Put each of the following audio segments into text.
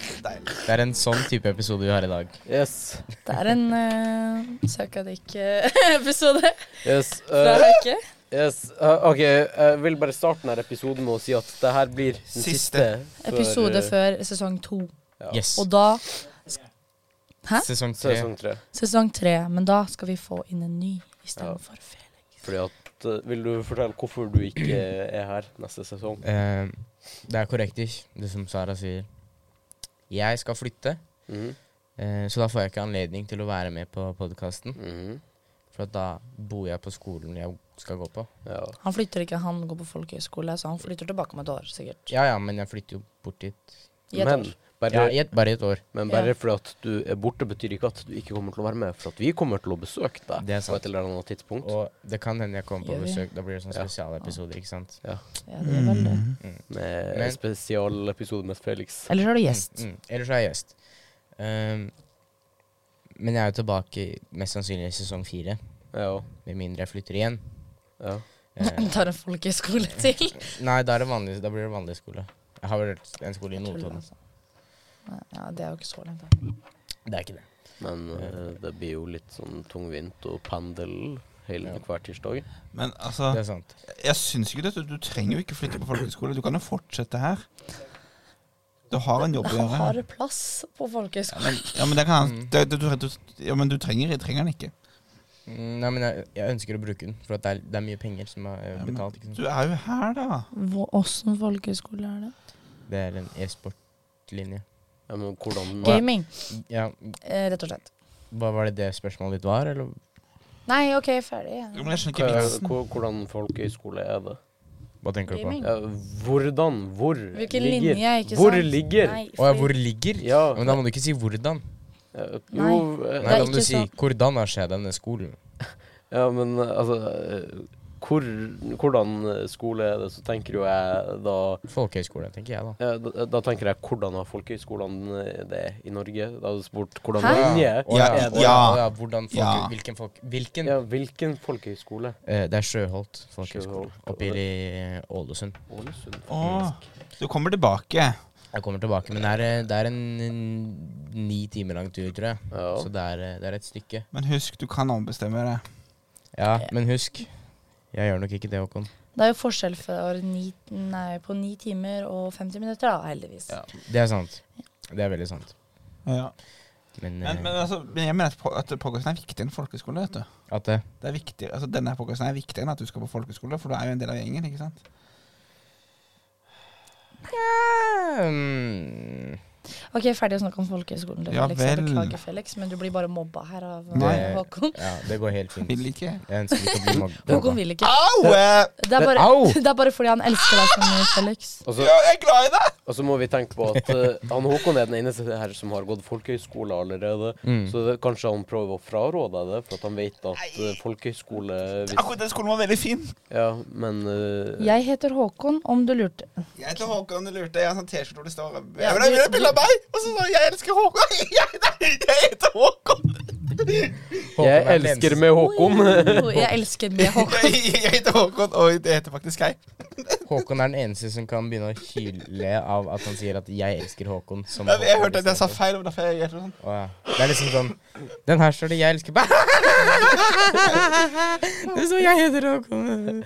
Det er en sånn type episode vi har i dag. Yes. Det er en uh, Søkadik-episode yes. fra eh, Hauke. yes. Eh, OK, jeg vil bare starte denne episoden med å si at det her blir den Siste. siste. for, Episode eh, før sesong to. Yes. Og da Hæ? Sesong tre. Sesong tre. sesong tre. Men da skal vi få inn en ny istedenfor Felix. Fordi at eh, Vil du fortelle hvorfor du ikke er her neste sesong? Eh, det er korrekt, ish, det som Sara sier. Jeg skal flytte, Mhm. eh, så da får jeg ikke anledning til å være med på podkasten. Mhm. For at da bor jeg på skolen jeg skal gå på. Ja. Han flytter ikke, han går på folkehøyskole, så han flytter tilbake om et år, sikkert. Ja ja, men jeg flytter jo bort dit. I et Men år. bare, Ja, i et, bare i et år. men bare Ja. fordi at du er borte, betyr ikke at du ikke kommer til å være med. For at vi kommer til å besøke deg Det er på sant. et eller annet tidspunkt. Og det kan hende jeg kommer på Gjør vi? besøk. Da blir det sånn Ja. spesialepisoder, ikke sant. Ja, det er vel det. Med Men- en spesialepisode med Felix. Eller så Mm. er du gjest. Mm, mm. Ellers er jeg gjest. Ehm, men jeg er jo tilbake i- mest sannsynlig i sesong fire. Ja. Med mindre jeg flytter igjen. ja. Eh, Tar en folkehøyskole til. nei, da, er det vanlig, da blir det vanlig skole. Jeg har vel en skole i Notodden. Ja, det er jo ikke så langt, da. Det er ikke det. Men eh, det blir jo litt sånn tungvint og pendel hele Ja. hver tirsdag. Men Det altså, er sant. jeg syns ikke dette. Du trenger jo ikke flytte på folkehøyskole. Du kan jo fortsette her. Du har en jobb å Han gjøre. har plass på Ja, folkehøyskole. men, ja, men, det kan, Mm. det, det, du, du, ja, men du trenger, trenger den ikke. Mm, Nei, men jeg, jeg ønsker å bruke den, for at det, er, det er mye penger som er eh, Ja, men betalt. Ikke Du sant? er jo her, da. Hvor- Åssen folkehøyskole er det? Det er en e-sportlinje. Ja, men hvordan Gaming, Ja, eh, rett og slett. hva Var det det spørsmålet ditt var, eller? Nei, OK, ferdig. Jo, men jeg skjønner ikke eh, Hva- vitsen. hvor- Hvordan folkehøyskole er det? Hva tenker du på? Gaming. Ja, hvordan? Hvor Hvilken ligger linje, ikke Hvor sant? ligger? Nei, Å ja, fordi- hvor ligger? Ja. Ja, Men da må du ikke si hvordan. eh, Nei. Jo, Nei, eh, Det er da må du ikke si sant. hvordan har skjedd denne skolen. ja, men eh, altså eh, hvor, Hvordan eh, skole er det, så tenker jo jeg da Folkehøyskole, tenker jeg da. ja, da, eh, da tenker jeg hvordan har folkehøyskolene eh, det i Norge? Da hadde du spurt hvordan Hæ? linje Å er Ja. det? å å ja. Hvordan folk, Ja. Hvilken folk... Hvilken? Ja, hvilken folkehøyskole? Eh, det er Sjøholt folkehøgskole. Sjøholt. Oppe i eh, Ålesund. Ålesund. Å, du kommer tilbake. Jeg kommer tilbake, men det er, eh, det er en, en ni timer lang tur, tror jeg. Ja. Så det er, eh, det er et stykke. Men husk, du kan ombestemme deg. Ja, men husk. Jeg gjør nok ikke det, Håkon. Det er jo forskjell for ni, nei, på ni timer og 50 minutter, da, heldigvis. Ja. Det er sant. Det er veldig sant. Ja. Men, Men, eh, men altså, men jeg mener at, po- at podcasten er viktigere enn folkehøyskole. vet du. at det Det er viktig, altså Denne podcasten er viktigere enn at du skal på folkehøyskole, for du er jo en del av gjengen. ikke sant? mm, Ok, ferdig å snakke om folkehøyskolen til Ja Felix. Jeg vel. beklager, Felix, men du blir bare mobba her av uh, Nei. Håkon. Ja, det går helt fint. Vil ikke. Jeg ønsker ikke å bli mobb- Håkon mobba. vil ikke. Au! Det er, bare, Au! det er bare fordi han elsker deg så mye, Felix. altså, Og så- Ja, jeg er glad i deg! Og så må vi tenke på at eh, han Håkon er den eneste her som har gått folkehøyskole allerede. Mm. Så det, kanskje han prøver å fraråde deg det, for at han vet at eh, folkehøyskole hvis, Akkurat den skolen var veldig fin. Ja, men eh, Jeg heter Håkon, om du lurte. Jeg heter Håkon, du lurte. Jeg har en sånn T-skjorte hvor det står Ja, Jeg vil ha- du- vil ha bilde av meg! Og så sa jeg, jeg elsker Håkon. Jeg, nei, jeg heter Håkon. Håkon Jeg er den elsker eneste- med Håkon. Oi, Jeg elsker med Håkon. Jeg, jeg heter Håkon, og det heter faktisk jeg. Håkon er den eneste som kan begynne å hyle av at han sier at 'jeg elsker Håkon'. Som Jeg, jeg Håkon hørte at jeg sa istedenfor. feil. og derfor jeg gjør sånn. Å, ja. Det er liksom sånn Den her står det 'jeg elsker' Bæ! Det står 'jeg heter Håkon'.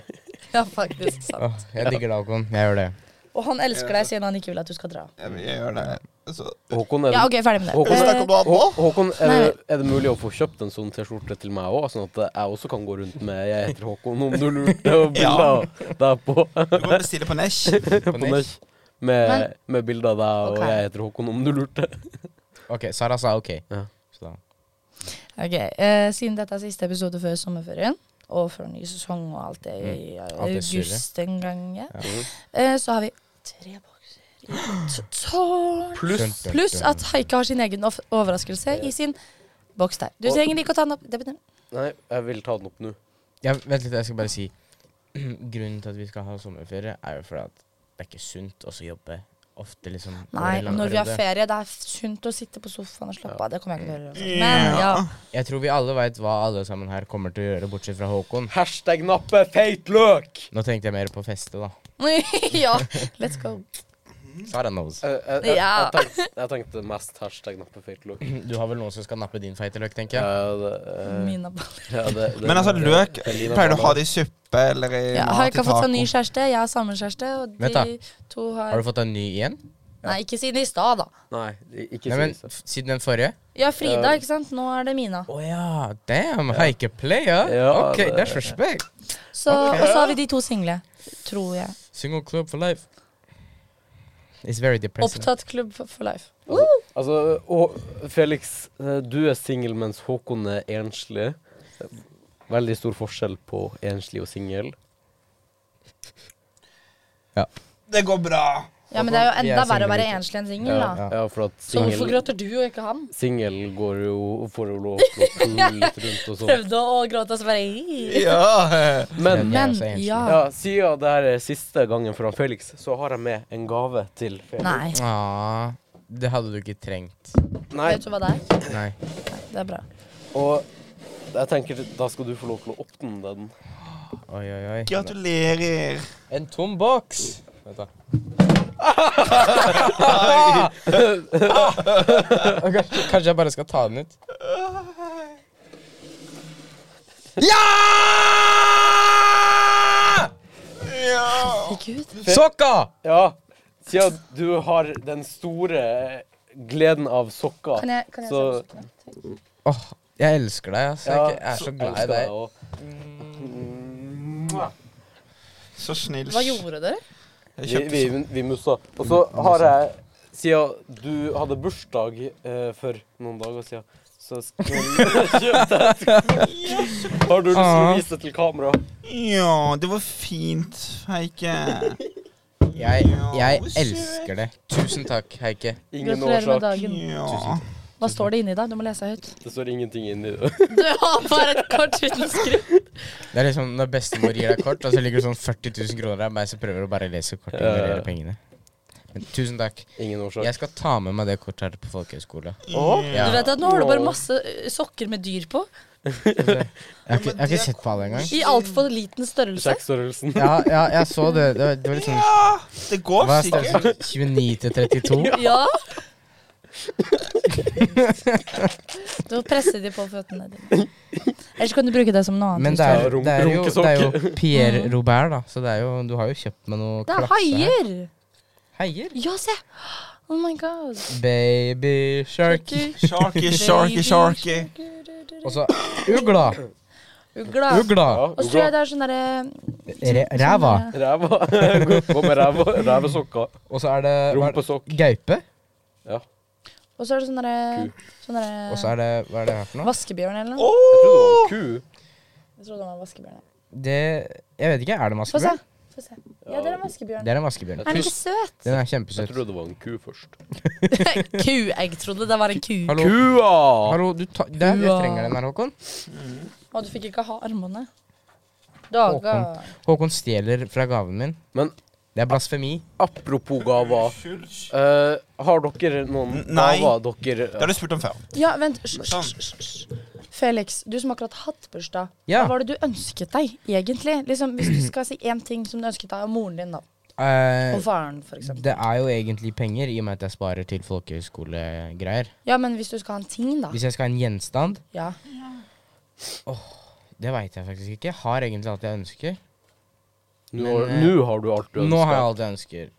Ja, faktisk sant. Åh, jeg digger deg, Håkon. Jeg gjør det. Og han elsker deg siden han ikke vil at du skal dra. Jeg, jeg gjør det. Altså, Så, Håkon, er, Ja, ok, ferdig med Håkon, det. Eh, snakk om Hå, noe annet nå. Håkon er, det, er det mulig å få kjøpt en sånn T-skjorte til meg òg, sånn at jeg også kan gå rundt med 'Jeg heter Håkon', om du lurte å bilde Ja. av deg på, Du må bestille på Nesh. På på nytt. nett. Med, Men- med bilde av deg og Ok. 'Jeg heter Håkon', om du lurte. Ok, Sara sa ok. Ja. Så da Ok, eh, Siden dette er siste episode før sommerferien, og før ny sesong og alt det i Alt det surret. august en gang, ja. Ja. eh, så har vi tre bokser i et tårn. Pluss Pluss at Haike har sin egen of- overraskelse i sin boks der. Du Og- trenger ikke å ta den opp. Det betyr- Nei, jeg vil ta den opp nå. ja, Vent litt, jeg skal bare si Grunnen til at vi skal ha sommerferie, er jo fordi at det er ikke sunt også å jobbe ofte, liksom. over Nei, en lang når vi har periode. ferie, det er sunt å sitte på sofaen og slappe av. Det kommer jeg ikke til å gjøre. altså. Ja. Men ja. Jeg tror vi alle veit hva alle sammen her kommer til å gjøre, bortsett fra Håkon. Hashtag nappe feit løk! Nå tenkte jeg mer på feste, da. ja. Let's go. Sara knows. Jeg, jeg, jeg, Ja. Eh, jeg, tenkte, jeg tenkte mest hashtag nappe fake look. Du har vel noen som skal nappe din feiteløk, tenker jeg. Ja, det, eh, Mina baller. ja, det- det- Men altså, det- løk det ligner pleier du å ha bare- det i suppe eller i Ja, mat i Haika har fått seg ny taco. kjæreste, jeg har samme kjæreste. Og Vent da. de to har, Har du fått deg en ny igjen? Nei, ikke siden i stad, da. Nei, i- ikke Nei, men synes jeg. f- Siden den forrige? Ja, Frida, Ja. ikke sant. Nå er det Mina. Å ja. Damn, haike player. Ja, OK, det- that's respect. Så, Og så har vi de to single, tror jeg. Single club for life. It's very depressing. Opptatt klubb for- for life. Altså, og Felix, eh, du er singel mens Håkon er enslig. Veldig stor forskjell på enslig og singel. Det går bra. Ja, Men det er jo Vi er enda verre å single, være gutter. enslig enn singel, Ja, da. ja. ja, for at Så hvorfor singel gråter du og ikke han? Singel går jo får jo lov til å pule litt rundt og sånn. Prøvde å gråte, og så bare «Ih». Ja. Men Jeg er Men også enslig. ja. altså ja, siden det her er siste gangen fra Felix, så har jeg med en gave til Felix. Nei. Ah, det hadde du ikke trengt. Nei, Vet du hva det er? Nei. Det er bra. og jeg tenker da skal du få lov til å åpne den. Oi, oi, oi. Gratulerer. En tom boks. Vent, da. Ah! Ah! Kanskje, kanskje jeg bare skal ta den ut? Ja! Ja. Herregud. Sokka! Ja, siden du har den store gleden av sokker Kan jeg, kan jeg så, se på sokkene? Åh, jeg elsker deg, ass. Jeg er, ikke, jeg er så glad i elsker deg. også. Så snill. Hva gjorde dere? Jeg Vi, kjøpte vi, sånn. vi mussa. Og så har jeg Siden du hadde bursdag eh, for noen dager siden, så skulle jeg kjøpe deg et sko. Har du lyst til å Ah. vise det til kamera? Ja, det var fint, Heike. Jeg, Ja, jeg søt. elsker det. Tusen takk, Heike. Ingen Gratulerer med årsak. dagen. Ja. Hva står det inni deg? Du må lese høyt. Det står ingenting inni det. Du har bare et kort uten skrift. Det er liksom når bestemor gir deg kort, og så ligger det sånn 40 000 kroner der, meg som prøver å bare lese kortet og Ja, ja, ja. ignorere pengene. Men tusen takk. Ingen årsak. Jeg skal ta med meg det kortet her på folkehøyskole. Å? Ja. Du vet at nå har du bare Wow. masse ø, sokker med dyr på. Jeg har ikke, jeg har ikke sett på alle engang. I altfor liten størrelse. Sjekk størrelsen. Ja, ja, jeg så det. Det var, det var litt sånn Ja, det går Hva er sikkert. størrelsen? 29 til 32? Ja. Du må presse de på føttene dine. Ellers kan du bruke det som noe annet. Men det Ja, er, rom- det er jo, det er runkesokker. Mm. jo Pierre Robert, da. Så det er jo, du har jo kjøpt med noe det er klasse her. haier! Heier. Ja, se! Oh my god. Baby shark. Sharky, sharky, sharky. Og så ugla. Ugla. Ugla. Ja, Og så tror jeg det er sånn derre sånn- Re- Ræva. Ræva. Gå- Gå med ræva. Rævesokker. Og så er det Eh, hva er det? Rumpesokk. gaupe. Ja. Og så er det sånn derre Ku. Sånn Og så derre er det Hva er det her for noe? Vaskebjørn eller noe. Jeg trodde Åh! det var en ku. Jeg trodde han var vaskebjørn. Det Jeg vet ikke. Er det Få se. maskebjørn? Få se. Ja, det er en vaskebjørn. Det er en maskebjørn. Er den ikke søt? Den er Jeg kjempesøt. trodde det var en ku først. ku. Jeg trodde det var en ku. Hallo. Kua! Hallo, du ta, der, jeg Ua. trenger den her, Håkon. Å, du fikk ikke ha armene. Daga. Håkon stjeler fra gaven min. Men Det er blasfemi. apropos gaver. Det eh, har dere noen N- nei. gaver dere har du spurt om før. Ja, vent. Hysj, Sånn. hysj, hysj, hysj. Felix, du som akkurat hatt bursdag, Ja. hva var det du ønsket deg, egentlig? Liksom, Hvis du skal si én ting som du ønsket deg av moren din, da. Eh, Og faren, for eksempel. det er jo egentlig penger, i og med at jeg sparer til folkehøyskolegreier. Ja, men hvis du skal ha en ting, da. Hvis jeg skal ha en gjenstand Ja. Det veit jeg faktisk ikke. Jeg har egentlig alt jeg ønsker. Nå har, Men, eh, nå har du alt du Nå har jeg ønsker. alt jeg ønsker.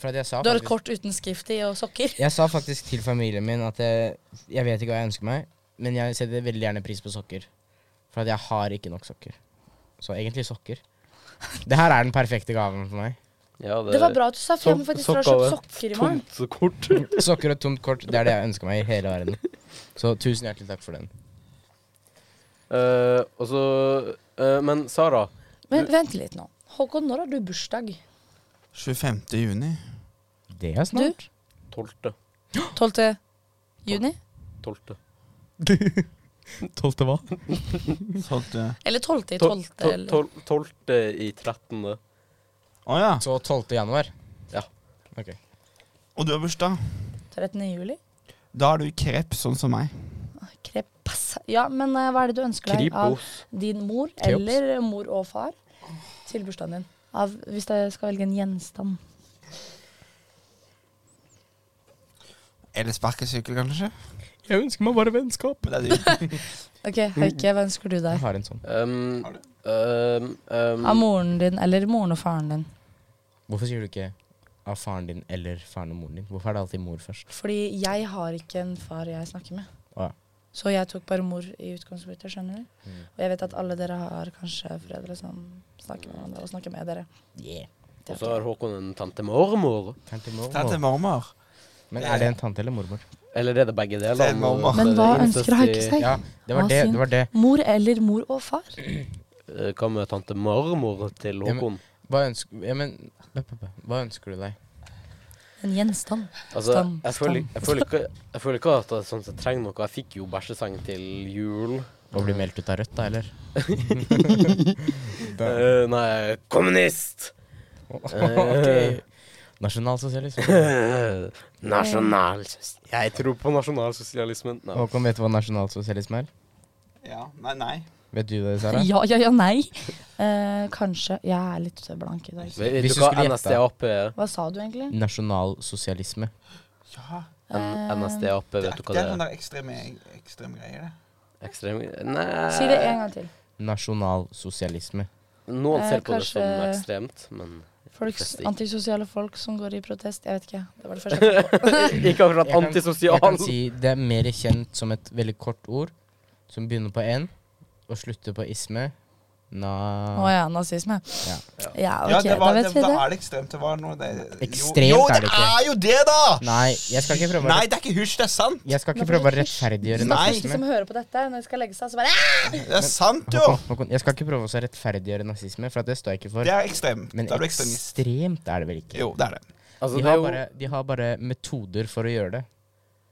For at jeg sa Du har et faktisk- kort uten skrift i og sokker. Jeg sa faktisk til familien min at jeg, jeg vet ikke hva jeg ønsker meg, men jeg setter veldig gjerne pris på sokker. For at jeg har ikke nok sokker. Så egentlig sokker. Det her er den perfekte gaven for meg. Ja, Det var bra at du sa, for jeg må Sånn, faktisk dra og sokker kjøpe og sokker i morgen. Tomt kort. Sokker og et tomt kort, det er det jeg ønsker meg i hele verden. Så tusen hjertelig takk for den. Eh, og så eh, Men Sara, Men vent litt nå. Håkon, når har du bursdag? 25. juni. Det er snart. tolvte. 12. juni? Tolvte. 12. hva? Så at, eh, Eller 12. i 12. Tol- tol- eller? tol- Tolvte i trettende. Å ja. Så 12. januar. Ja. Ok. Og du har bursdag. 13. juli? Da er du kreps, sånn som meg. Krepas. Ja, men eh, hva er det du ønsker deg av Kripos. din mor Keops. eller mor og far til bursdagen din? Av, hvis jeg skal velge en gjenstand. Eller sparkesykkel, kanskje? Jeg ønsker meg bare vennskap. Men det er dyrt. Ok, Mm. Høyke, hva ønsker du Jeg deg? har en sånn. Um, Har du? um, Av um, moren din eller moren og faren din? Hvorfor sier du ikke av faren din eller faren og moren din? Hvorfor er det alltid mor først? Fordi jeg har ikke en far jeg snakker med. Å ja. Så jeg tok bare mor i utgangspunktet, skjønner du? Mm. Og jeg vet at alle dere har kanskje foreldre som snakker med hverandre og snakker med dere. Yeah. Det er og så ok. har Håkon en tante mormor. Tante Tante mormor. mormor. Men er det en tante eller mormor? Eller er det begge deler? Det er mormor. Men Det er hva incest ønsker Harke i- seg? Ja, det var Ah, det. synd. det, var det. Mor eller mor og far? Eh, Hva med tante mormor til Ja, men- Håkon? Hva, ønsker, ja, men, hva ønsker du deg? En gjenstand. Altså, Stam, jeg, stam. føler, jeg, føler ikke, jeg føler ikke at jeg sånn sett trenger noe. Jeg fikk jo bæsjeseng til jul. Å bli meldt ut av Rødt, da, eller? Eh, nei, kommunist! Eh, ok. Nasjonalsosialisme. Eh, Nasjonalsosialisme Jeg tror på nasjonalsosialismen. Nei. Håkon, vet du hva nasjonalsosialisme er? Ja. Nei, nei. Vet du det, Sara? Ja, ja, ja, nei. Eh, kanskje. Jeg er litt blank i dag. Vet, vet Hvis du du hva skulle gjette. NSDAP er? Hva sa du egentlig? Nasjonalsosialisme. Ja. Eh, N- NSDAP, Det er, vet du hva det det er sånn er? der ekstreme, ekstrem greie, det. Ekstrem... Nei Si det en gang til. Nasjonalsosialisme. Noen Eh, ser på det som kanskje- ekstremt, men Folks, Fleste ikke. antisosiale folk som går i protest. Jeg vet ikke. Det var det første. jeg kom på. Ikke akkurat Jeg kan- Jeg antisosial. kan si det er mer kjent som et veldig kort ord som begynner på N og slutter på isme. Å Na... ja, nazisme. Ja. Ja, ja, ok, det da var, vet det, vi da det. er det ekstremt. Det var noe det, Ekstremt jo, jo, er det det ikke. er jo det, da! Nei, jeg skal ikke prøve å- Nei, det er ikke hysj, det er sant. Jeg skal Nå ikke får prøve å du hysj. rettferdiggjøre Nei. De som nazisme. hører på dette når de skal legge seg, så bare Det er sant, jo. Håkon, Håkon, jeg skal ikke prøve å rettferdiggjøre nazisme, for at det står jeg ikke for. Det er ekstremt. Men Da er du ekstremist. ekstremt er det vel ikke? Jo, det er det. De Altså, det er har jo bare, de har bare metoder for å gjøre det.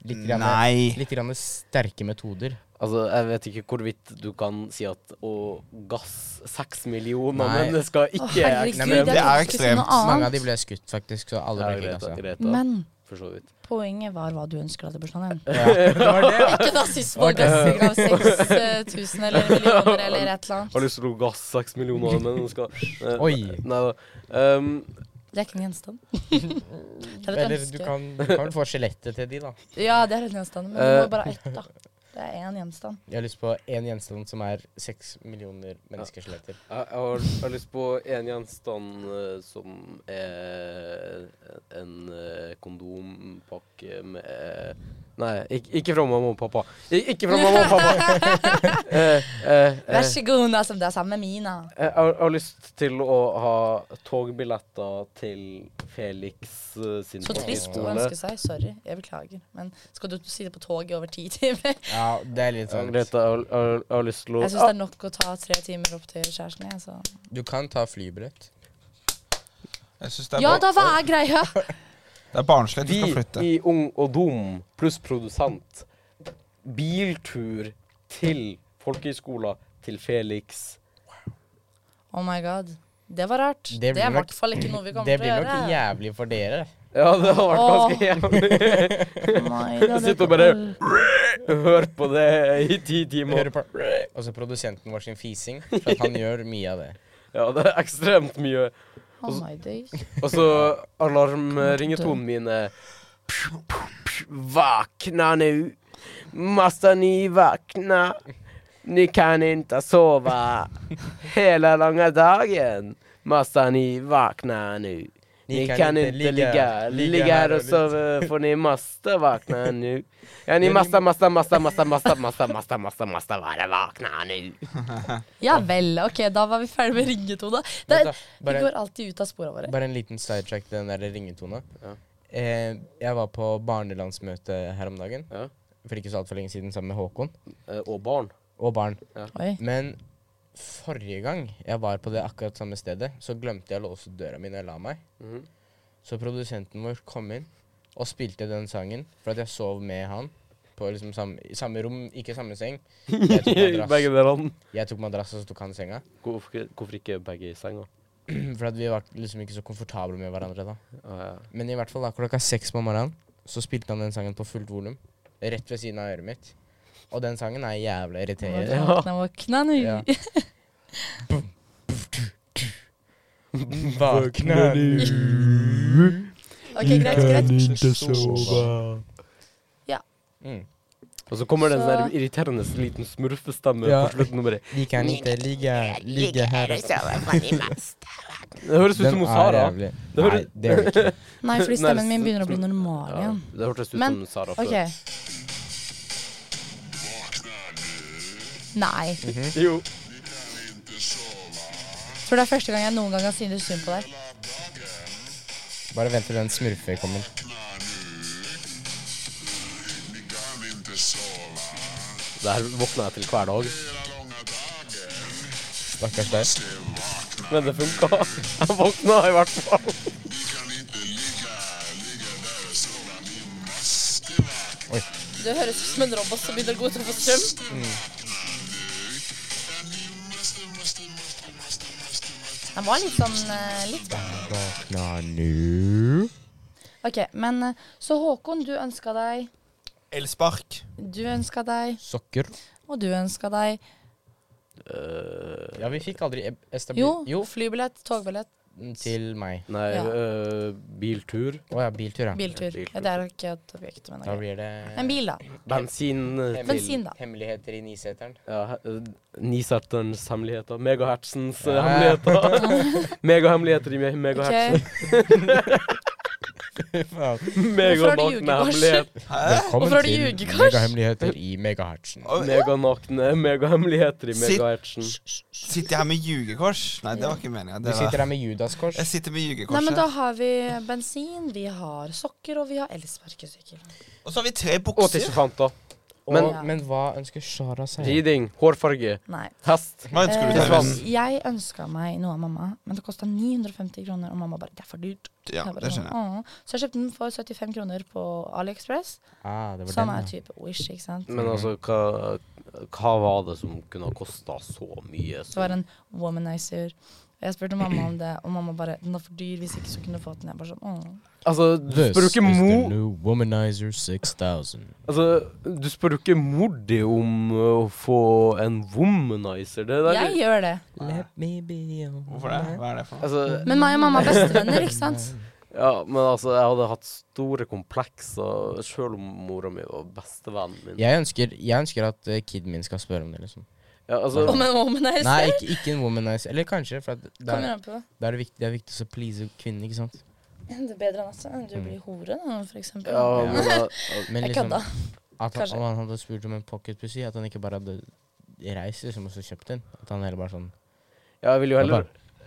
Litt grann, Nei. litt grann sterke metoder. Altså, jeg vet ikke hvorvidt du kan si at å gass seks millioner Nei. mennesker Å, ikke er herregud, Nei, ekstremt. men jeg det er tenkte jeg skulle si noe Mange av annet. de ble skutt, faktisk, så alle Ja, ble greit, da, kidnappa. greit, da. Men For så vidt. poenget var hva du ønsker deg til bursdagen din. Det var det, ja. Ikke nazisme og Ok. gassing av 6000 eller millioner eller et eller Har annet. lyst til å gass seks millioner mennesker. Eh, Oi. Nei da. Um, Det er ikke en gjenstand. Det er et Eller du ønske. kan, du kan få skjelettet til de, da. Ja, det er en gjenstand, men du må bare ha ett, da. Det er én gjenstand. Jeg har lyst på én gjenstand som er seks millioner menneskeskjeletter. jeg, jeg, har, jeg har lyst på en gjenstand eh, som er en eh, kondompakke med eh, Nei, ikke, ikke fra mamma og pappa. Ik ikke fra mamma og pappa! Eh, eh, eh. Vær så god, da, som det er sammen med Mina. Jeg har, jeg har lyst til å ha togbilletter til Felix eh, sin Så trist å folkehøyskole. ønske seg. Sorry, jeg beklager. Men skal du sitte på toget i over ti timer? Ja, det er litt sånn sant. Ja, Grete, jeg har, jeg har, jeg har lyst til å Jeg syns det er nok å ta tre timer opp til kjæresten. Jeg, så. Du kan ta flybillett. Jeg synes det, er Ja bar- da, hva er greia? det er barnslig at du skal Ah, Vi flytte. i Ung og Dum pluss produsent. Biltur til folkehøyskolen til Felix. Oh my god. Det var rart. Det Det, blir er i nok- hvert fall ikke noe vi Det kommer til å blir gjøre. nok jævlig for dere. Ja, det har vært Åh. ganske jævlig. Nei, det hadde Sitter jeg og bare- ikke- Hør på det i ti timer. Hører på Og så produsenten vår sin fising, for at han gjør mye av det. Ja, det er ekstremt mye. Oh my days. Og så alarmringetonen min er Vakna nu. Massa ni vakna. Ni kan inte sova hela långa dagen. Massa ni vakna nu. Ni kan inte ligga, ligga här och sova för ni måste vakna nu. Ja, ni måste, måste, måste, måste, måste, måste, måste, måste, måste vara vakna nu. Ja vel. Ok, da var vi ferdig med ringetone. Det, Vent da, vi bare- går alltid ut av sporene våre. Bare en liten sidetrack til den der ringetona. Ja. Eh, jeg var på barnelandsmøte her om dagen, Ja. for ikke så altfor lenge siden, sammen med Håkon Og Eh, barn. og barn. Oi. Men forrige gang jeg var på det akkurat samme stedet, så glemte jeg å låse døra mi når jeg la meg. Mhm. Så produsenten vår kom inn og spilte den sangen, for at jeg sov med han. På liksom samme, i samme rom, ikke samme seng. Jeg tok madrass, delene. jeg tok madrass og så tok han senga. Hvorfor, hvorfor ikke begge i senga? For at vi var liksom ikke så komfortable med hverandre da. Ah, ja. Men i hvert fall da klokka seks på morgenen så spilte han den sangen på fullt volum. Rett ved siden av øret mitt. Og den sangen er jævla irriterende. Våkna, våkna nu. Ja. Våkne Ok, greit, greit. Ikke sove. Mm. Og så kommer det en Så- sånn der irriterende liten smurfestemme Ja. på slutten. og bare, Vi kan ikke ligge, ligge her og Det høres ut som hun Sara. jævlig. Det Nei, hører- det gjør det ikke. Nei, fordi Nei, stemmen min det- begynner å bli normal Ja, igjen. det hørtes ut Men, som Sara før. OK. Nei. Jeg Jo. tror det er første gang jeg noen gang kan synes synd på deg. Bare vent til den smurfe kommer. Det her våkner jeg til hver dag. Stakkars deg. Men det funka. Jeg våkna i hvert fall. Du høres ut som en robot som begynner å gå utover strøm. Mm. Den var litt sånn eh, litt bra. Våkna nu. OK, men eh, så Håkon, du ønska deg Elspark. Du ønska deg, Sokker. og du ønska deg Eh, Ja, vi fikk aldri e- estabil... Jo, Jo, flybillett, togbillett, til meg. Nei, Ja. øh, biltur. Å ja, biltur, ja. biltur. Ja, det er ikke et objekt, men det Da er greit. blir det En bil, da. Bensin øh, til Bensin, da. Hemmeligheter i Niseteren. Ja, he- øh, Niseterens hemmeligheter. Megahertzens øh, Ja. hemmeligheter. Megahemmeligheter i me- Ok, megahertz. Hvorfor Hvorfor har Meganakne du hemmelighet. Hvorfor har du ljugekors? megahemmeligheter i megahertzen. Oi, Meganakne megahemmeligheter i Sitt. megahertzen. Sitter jeg her med ljugekors? Nei, det var ikke meninga. Du sitter der med Judaskors. Jeg sitter med Nei, men jugekorset. da har vi bensin, vi har sokker, og vi har elsparkesykkel. Og så har vi tre Og bukser. tissefanter. Men, Men Ja. men hva ønsker Shara seg? riding, hårfarge, Nei. hest. Hva ønsker du Eh, deg? Tissevann. Ruben? jeg ønska meg noe av mamma, men det kosta 950 kroner. Og mamma bare 'det er for dyrt'. Ja, Jeg bare det sånn, skjønner «Åh». jeg. Så jeg kjøpte den for 75 kroner på AliExpress, Ah, det var som den, er ja. type Wish, ikke sant. Men altså, hva, hva var det som kunne ha kosta så mye? Så var det en womanizer. Og jeg spurte mamma om det, og mamma bare 'den er for dyr, hvis ikke så kunne du fått den'. Jeg bare sånn åh. Altså, du spør jo ikke mor new Womanizer 6000. Altså, du spør jo ikke mor di om ø, å få en womanizer. Det der Jeg gjør det. Let me be your Hvorfor det? Hva er det for noe? Altså, Men meg og mamma er bestevenner, ikke sant. ja, men altså, jeg hadde hatt store komplekser sjøl om mora mi var bestevennen min. Jeg ønsker, jeg ønsker at eh, kiden min skal spørre om det, liksom. Ja, altså, Om en womanizer. Nei, ikke, ikke en womanizer. Eller kanskje, for at det, Kommer er, an på. det, er viktig, det er viktig å please kvinnen, ikke sant? Det er bedre enn at du blir hore, da, for eksempel. Mm. ja, men, da- Men Jeg liksom, kødda. at han, Kanskje. om han hadde spurt om en pocketpussy, at han ikke bare hadde reist liksom, og så kjøpt en. At han heller bare sånn ja, jeg vil jo heller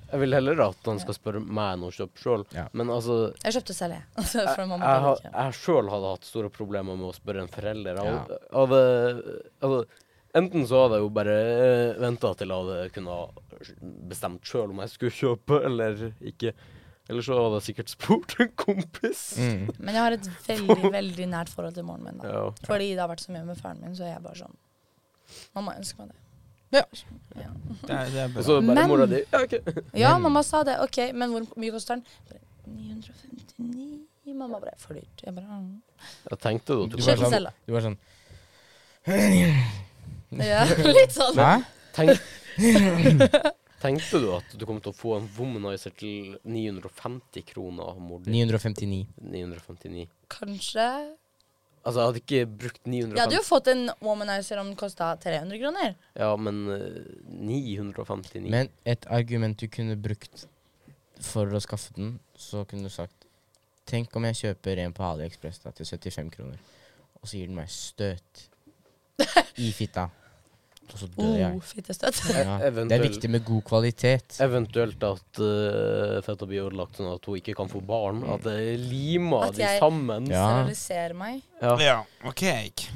jeg vil heller at han skal spørre meg enn å kjøpe sjøl, Ja. men altså Jeg kjøpte selv, jeg. Altså, Jeg, for mamma jeg, bare har- ikke. jeg sjøl hadde hatt store problemer med å spørre en forelder. Jeg Ja. hadde- hadde, altså, enten så hadde jeg jo bare venta til jeg hadde kunne ha bestemt sjøl om jeg skulle kjøpe eller ikke. Eller så hadde jeg sikkert spurt en kompis. mm. Men jeg har et veldig veldig nært forhold til moren min. da. Ja. Fordi det har vært så mye med faren min, så jeg er bare sånn Mamma ønsker meg det. Det er, det er Og bra. så bare Men- mora di. Ja, ok. Ja, mamma sa det. OK, men hvor mye koster den? Bare, 959. Mamma bare For dyrt. Jeg bare «Mm». Jeg tenkte jo at Du du bare Kjøp sånn- den selv, da. Du bare sånn Ja, litt sånn. Hæ? tenk, Tenkte du at du kom til å få en womanizer til 950 kroner av mor di? 959. 959. Kanskje Altså, jeg hadde ikke brukt Jeg hadde 950, jo fått en womanizer om den kosta 300 kroner. ja, men eh, 959 Men et argument du kunne brukt for å skaffe den, så kunne du sagt Tenk om jeg kjøper en på AliExpress da, til 75 kroner, og så gir den meg støt i fitta. Og så dør Oh, jeg. fittestøt. Ja. Det er eventuell- viktig med god kvalitet. Eventuelt at uh, fetta blir ødelagt sånn at hun ikke kan få barn. At det er lima At de jeg- sammen. Ja. Steriliserer meg Ja. Ja, OK.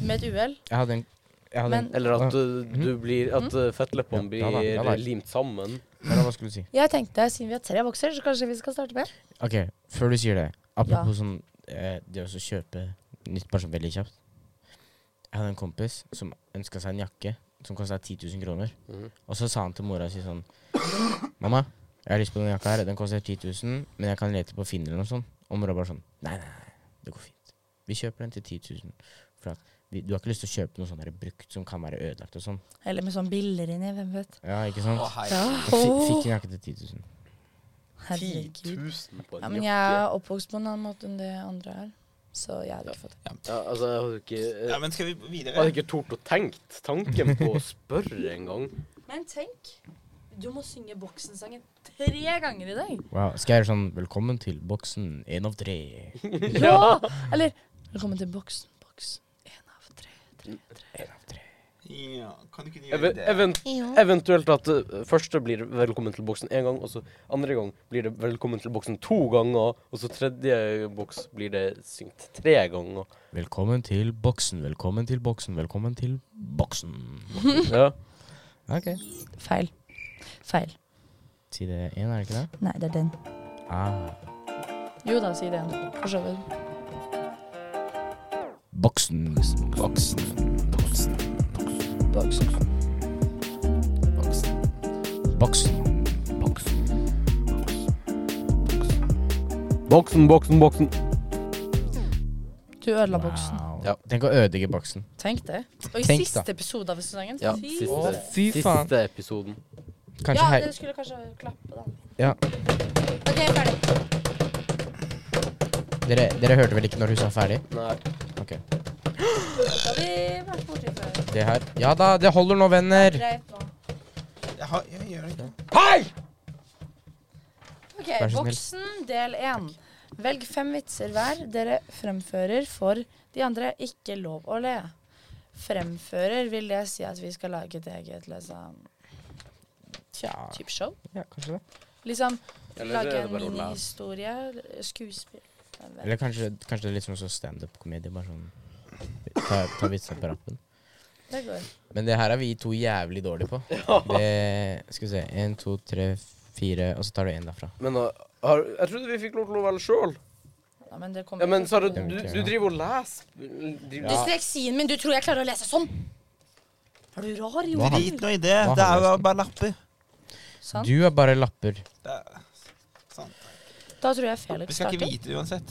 med et uhell. Jeg hadde en, jeg hadde en Men Eller at uh, du blir At uh, fettleppene Ja, da da, blir eh, da da. limt sammen. Hva var det jeg skulle si? jeg tenkte, siden vi har tre bokser, så kanskje vi skal starte med OK, før du sier det. Apropos sånn eh, det å så kjøpe nytt bare sånn veldig kjapt. Jeg hadde en kompis som ønska seg en jakke som kosta 10 000 kroner. Mhm. Og så sa han til mora si sånn Mamma, jeg har lyst på den jakka her. Den koster 10 000, men jeg kan lete på Finn eller noe sånt. Og mora bare sånn Nei, nei, nei, det går fint. Vi kjøper den til 10 000. For at vi, du har ikke lyst til å kjøpe noe sånn der brukt som kan være ødelagt og sånn. Eller med sånn biller inni, hvem vet. Ja, ikke sant? Å, hei. Ja. Jeg fi- fikk en jakke til 10 000. 10 Herregud. 000 på Ja, en men jeg jakke. er oppvokst på en annen måte enn det andre er. Så jeg hadde ikke fått det. Ja, altså, jeg hadde ikke, Ja, jeg men skal vi videre? hadde ikke tort å tenkt tanken på å spørre engang. Men tenk, du må synge boksensangen tre ganger i dag. Wow. Skal jeg gjøre sånn Velkommen til boksen, én av tre. Ja! Eller Velkommen til boksen. Boksen. En av tre. Ja, kan du ikke gjøre Even, det? event, eventuelt at det første blir velkommen til boksen én gang, og så andre gang blir det velkommen til boksen to ganger, og så tredje boks blir det syngt tre ganger. Velkommen til boksen, velkommen til boksen, velkommen til boksen. Ja. Ok. Feil. Feil. Si det én, er det ikke det? Nei, det er den. Ah. Jo da, si det igjen. For så vidt. Boksen. Boksen. Boksen. Boksen. Boksen. Boksen. Boksen. Boksen, boksen, boksen. Du ødela boksen. Ja. Tenk å ødelegge boksen. Tenk det. Og i Tenk da. siste episode av sesongen. Ja, fy siste, fy faen. siste episoden. Kanskje Ja, hei... dere skulle kanskje klappe, da. Ja. OK, ferdig. Dere, dere hørte vel ikke når hun sa ferdig? Nei. Ok. Da har vi vært borti før. Det her. Ja da, det holder nå, venner. Greit nå. Jeg, har, jeg gjør det ikke. OK, Vær så snill. boksen del én. Velg fem vitser hver dere fremfører for de andre. Ikke lov å le. Fremfører vil det si at vi skal lage et eget liksom, Tja. type show? Ja, kanskje det. Liksom Eller er lage det en bare å le? minihistorie? eller Skuespill? Jeg vet Eller kanskje, kanskje det er litt sånn som standup-komedie. Bare sånn Ta, ta vitsene på rappen. ikke. Det går. Men det her er vi to jævlig dårlige på. Det, skal vi se Én, to, tre, fire, og så tar du én derfra. Men uh, har, jeg trodde vi fikk lov til å velge sjøl. Ja, men det kommer Ja, men ikke. Sara, du, du driver og leser. Dysleksien min, du tror jeg klarer å lese sånn? Er du rar, Hva har- Jorunn? Drit nå i det. Hva Det har er jo resten? bare lapper. Sant? Du er bare lapper. Det er sant. Da tror jeg Vi Felix skal ikke starter. vite det uansett.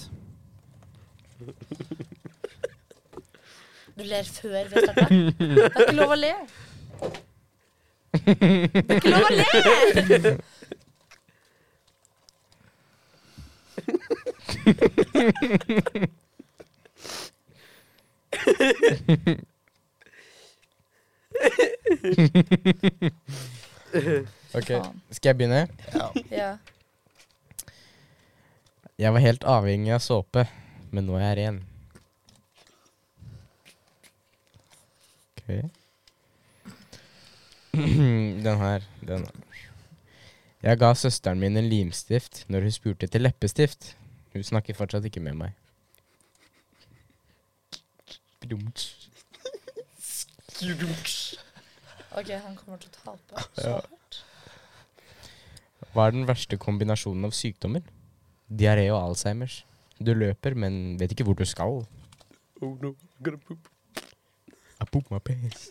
Du ler før vi starter. Det er ikke lov å le. Det er ikke lov å le! Ok, Faen. Skal jeg begynne? Ja. Jeg var helt avhengig av såpe, men nå er jeg ren. Ok. Den her. Den. Jeg ga søsteren min en limstift når hun spurte etter leppestift. Hun snakker fortsatt ikke med meg. Brumts. OK, han kommer til å tape. Ja. Hva er den verste kombinasjonen av sykdommer? Diaré og Alzheimers. Du løper, men vet ikke hvor du skal. Oh no, I'm gonna poop. I poop my pants.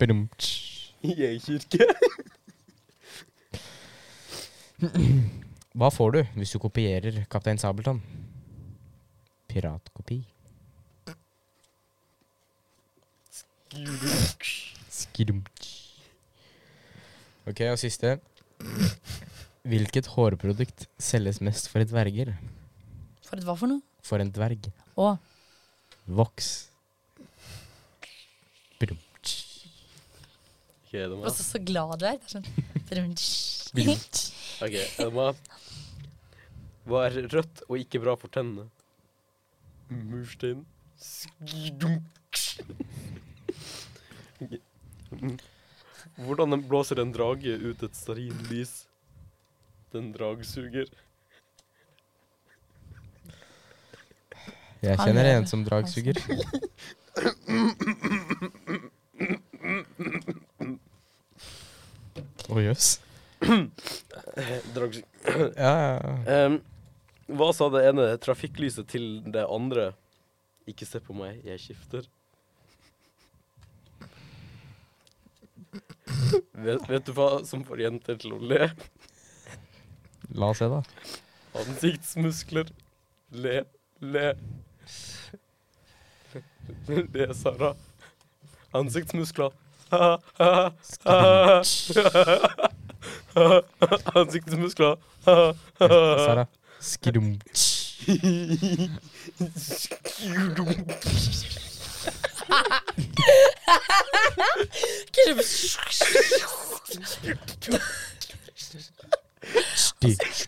Brumts. Jeg er i kirke. Hva får du hvis du kopierer Kaptein Sabeltann? Piratkopi. Skrumtsj. Ok, og siste. Hvilket hårprodukt selges mest for dverger? For et hva for noe? For en dverg. Å. Voks. Brumtsj. Ok, er det meg? Også så glad du er. Det er sånn Ok, er det meg? Hva er rødt og ikke bra for tennene? Murstein. Skidunk. Ok. Hvordan en- blåser en drage ut et stearinlys? lys? Den dragsuger. Jeg Han kjenner lever. en som dragsuger. Å jøss. Eh, Dragsuger. Ja, ja, ja. Ehm, hva sa det ene trafikklyset til det andre? Ikke se på meg, jeg skifter. Vet, vet du hva som får jenter til å le? La oss se, da. Ansiktsmuskler. Le, le. Le, Sara. Ansiktsmuskler. Ha, ha, ha. Ansiktsmuskler. Ha, ha, ha. Sara. Skrum.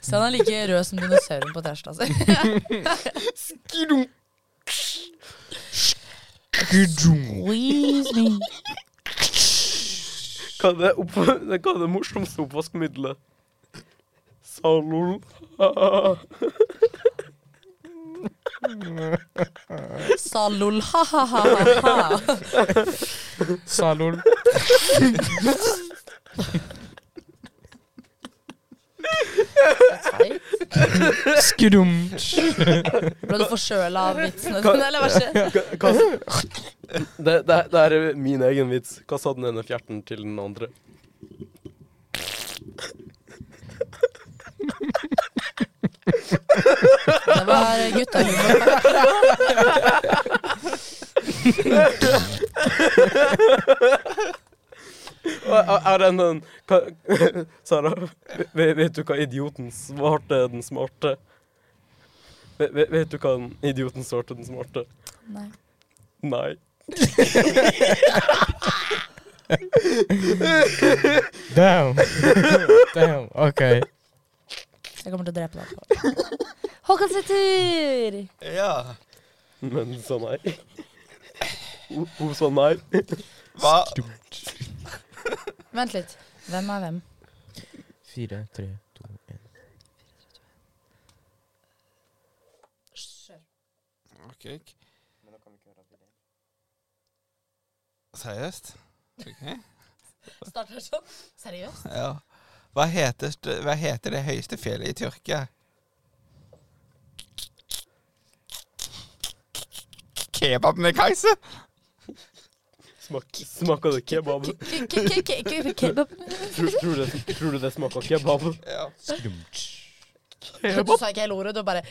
Så han er like rød som dinosauren på Tesla si. Hva er det, opp, hva er det morsomste oppvaskmiddelet? Salol. Salol, ha-ha-ha. Salol. Skudum. Ble du forkjøla av vitsene dine, eller hva skjedde? Hva, det, det, det er min egen vits. Hva sa den ene fjerten til den andre? Det var guttehumor. Er, er den den hva- Sara, ve- vet du hva idioten svarte den smarte? Ve- ve- Vet du hva den idioten svarte den smarte? Nei. Nei. Damn. Damn. Ok. Jeg kommer til å drepe deg. Håkon sin tur! Ja. Men hun sa nei. Hun- Hun sa nei. Hva Vent litt. Hvem er hvem? Fire, tre, to, én. Ok. Seriøst? Ok. Starter sånn? Seriøst? Ja. Hva heter, st- hva heter det høyeste fjellet i Tyrkia? Kebabnekajse? Smak, smaker det kebab? Kebab. Tror, tror, det, tror du det smaker kebab? Ja. Du sa ikke hele ordet, du bare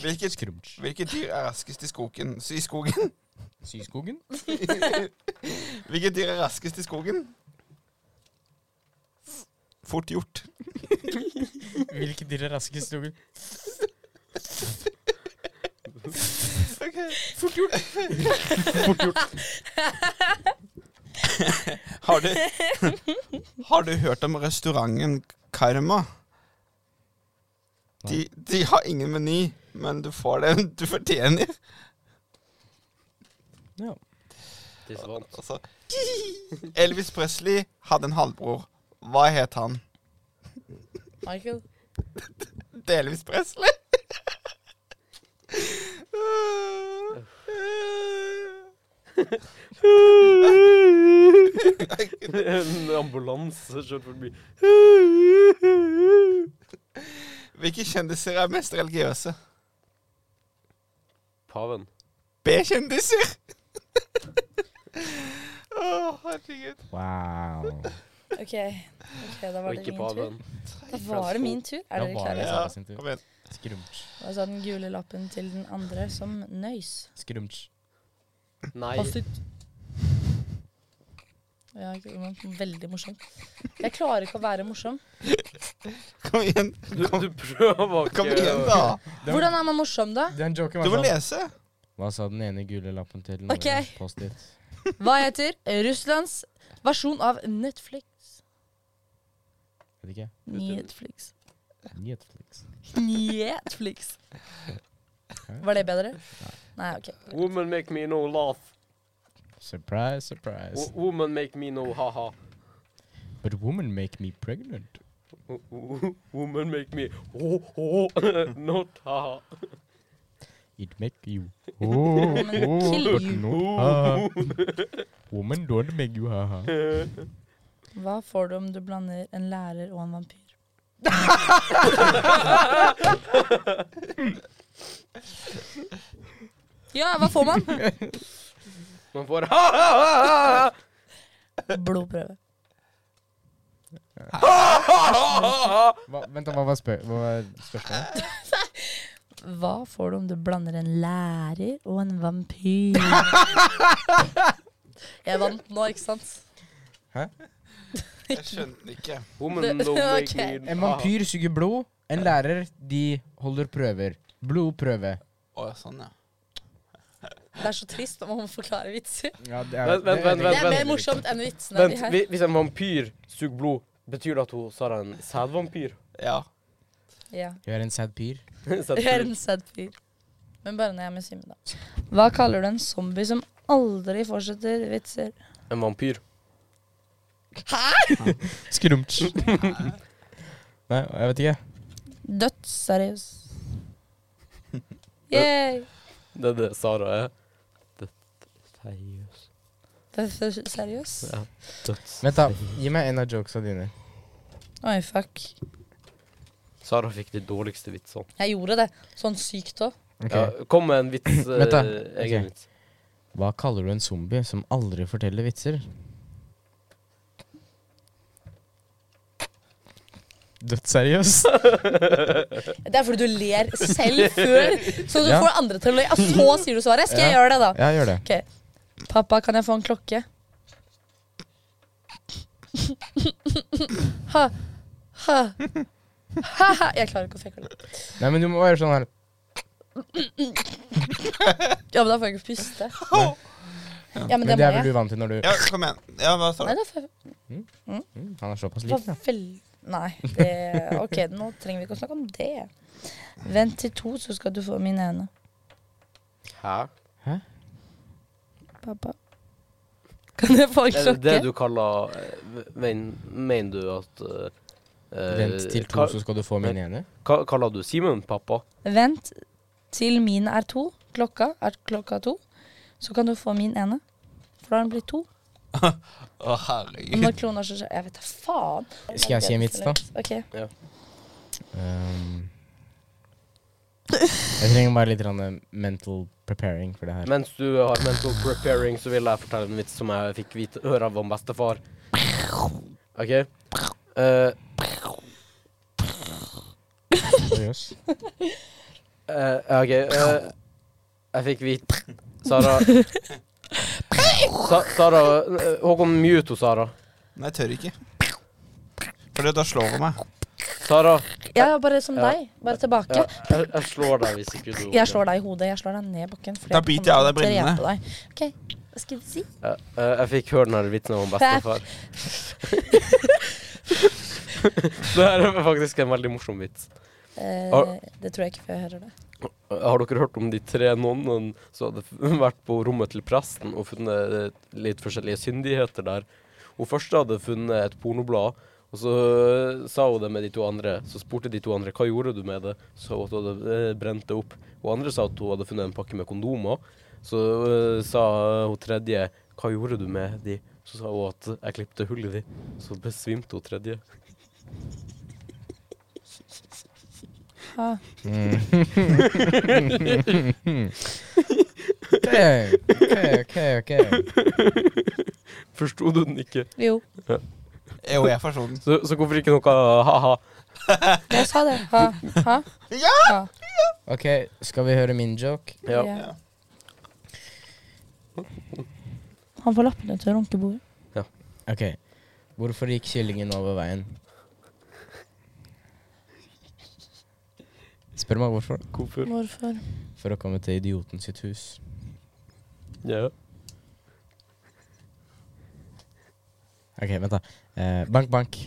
Hvilket, hvilket dyr er raskest i skogen? s- I skogen? Syskogen? Hvilket dyr er raskest i skogen? Fort gjort. Hvilke dyr er raskest i skogen? Fort gjort. Har du, har du hørt om restauranten Karma? De, de har ingen meny, men du får det du fortjener. Ja. Tisse vant. Altså, Elvis Presley hadde en halvbror. Hva het han? Michael. Det er Elvis Presley. En ambulanse kjørte forbi. Hvilke kjendiser er mest religiøse? Paven. B-kjendiser. Å, herregud. Wow. OK, Ok, da var Og det ikke min tur. paven. Da var det min tur. Er Da dere var klare? det. Ja, Sara sin tur. kom igjen. Skrumtsj. Og så den gule lappen til den andre som nøys. Skrumtsj. Nei. Ja, ikke sant? Veldig morsom. Jeg klarer ikke å være morsom. Kom igjen, Du, du prøver ikke. kom igjen da. Hvordan er man morsom, da? Den joken Du må var sånn. lese. Hva sa den ene gule lappen til den Ok. andre Post-It? Hva heter Russlands versjon av Netflix? Vet ikke. Netflix. Netflix. Netflix. Var det bedre? Nei, OK. Woman make me no laugh. Surprise, surprise. Oh. Wo- Woman make me no ha-ha. But woman make me pregnant. Wo- wo- Woman make me ho-ho. Not ha-ha. It make you oh, oh, kill but you. not ha. Woman don't make you ha-ha. Hva får du om du blander en lærer og en vampyr? ja, hva får man? Man får ha-ha-ha! Blodprøve. Hva, vent, da, hva var, spør hva var spørsmålet? Hva får du om du blander en lærer og en vampyr? Jeg vant nå, ikke sant? Jeg skjønte den ikke. Woman don't Ok. make me En vampyr suger blod, En lærer, de holder prøver. Blodprøve. Å, sånn, ja. Det er så trist når man må forklare vitser. Ja, det Ah. Vent, vent, vent, Det vent, er mer morsomt enn vitsene. Vent, de her. hvi- hvis en vampyr suger blod, betyr det at hun Sara er en sad vampyr? ja. Ja. Du er en sad pyr. Sad Jeg er fyr. en sad fyr. Men bare når jeg er med Simen, da. Hva kaller du en zombie som aldri fortsetter vitser? en vampyr. Skrumtsj. Nei, jeg vet ikke. Dødsseriøs. Yay! Det er det Sara er. Det- Seriøs. Dødsseriøs? Ja. Døds. Vent, da. Gi meg en av jokesa dine. Oi, fuck. Sara fikk de dårligste vitsene. Jeg gjorde det. Sånn sykt òg. Ok. Ja, kom med en vits. eh, Vent da. Egen Ok. vits. Hva kaller du en zombie som aldri forteller vitser? Dødsseriøs. Det er fordi du ler selv før, så du Ja. får andre til å le. Og så sier du svaret. Skal jeg gjøre det, da? Ja, gjør det. Pappa, kan jeg få en klokke? Ha, ha, ha, ha. Jeg klarer ikke å fake det. Nei, men du må være sånn her. Ja, men da får jeg ikke puste. Nei. Ja, men Men det det må er vel jeg. du vant til når du ja, kom igjen. Ja, hva sa Nei, du? da får jeg Mm, Han er såpass var liten. ja. vel- Nei, det OK, nå trenger vi ikke å snakke om det. Vent til to, så skal du få mine hender. Hæ? Pappa. Kan jeg få en Er det det klokke? du kaller eh, men- Mener du at eh, eh, Vent til to, ka- så skal du få min ene. ka- Kaller du Simen pappa? Vent til min er to. Klokka er klokka to. Så kan du få min ene. For da har den blitt to. Å, Og herregud. når kloner seg selv Jeg vet da faen. Skal jeg si en vits, da? Ok. Um, jeg trenger bare litt grann, eh, mental preparing for det her. Mens du har mental preparing, så vil jeg fortelle en vits som jeg fikk vite høre av om bestefar. OK? Eh, Seriøs. eh, OK eh, Jeg fikk vite Sara Sa Sara eh, Håkon, mute henne, Sara. Nei, jeg tør ikke. Fordi da slår hun meg. Sara, Ja, bare som Ja. deg. Bare tilbake. ja, jeg, jeg slår deg hvis ikke du Jeg slår deg i hodet. Jeg slår deg ned i bakken. fordi Da biter jeg av deg kommer til å drepe deg. brillene. Ok, hva skal jeg si? Ja, eh, jeg fikk høre den her vitsen om bestefar. det her er faktisk en veldig morsom vits. Eh, Har- det tror jeg ikke før jeg hører det. Har dere hørt om de tre nonnene som hadde f- vært på rommet til presten og funnet eh, litt forskjellige syndigheter der? Hun første hadde funnet et pornoblad, og så eh, sa hun det med de to andre. Så spurte de to andre hva gjorde du med det, så hun at hun hadde eh, brent det opp. Hun andre sa at hun hadde funnet en pakke med kondomer. Så eh, sa hun tredje hva gjorde du med de? Så sa hun at jeg klippte hull i de. Så besvimte hun tredje. Ha. Ok, ok, ok. ok. Forsto du den ikke? Jo, Jo, jeg forstår den. Så, så hvorfor ikke noe ha-ha? jeg sa det. Ha. Ha. Ok, Skal vi høre min joke? Ja. Ja. Han får lappene til runkebordet. Ok, Hvorfor gikk kyllingen over veien? Spør meg hvorfor. Hvorfor? Hvorfor? For å komme til idioten sitt hus. Ja. Ok, vent, da. Eh, bank, bank.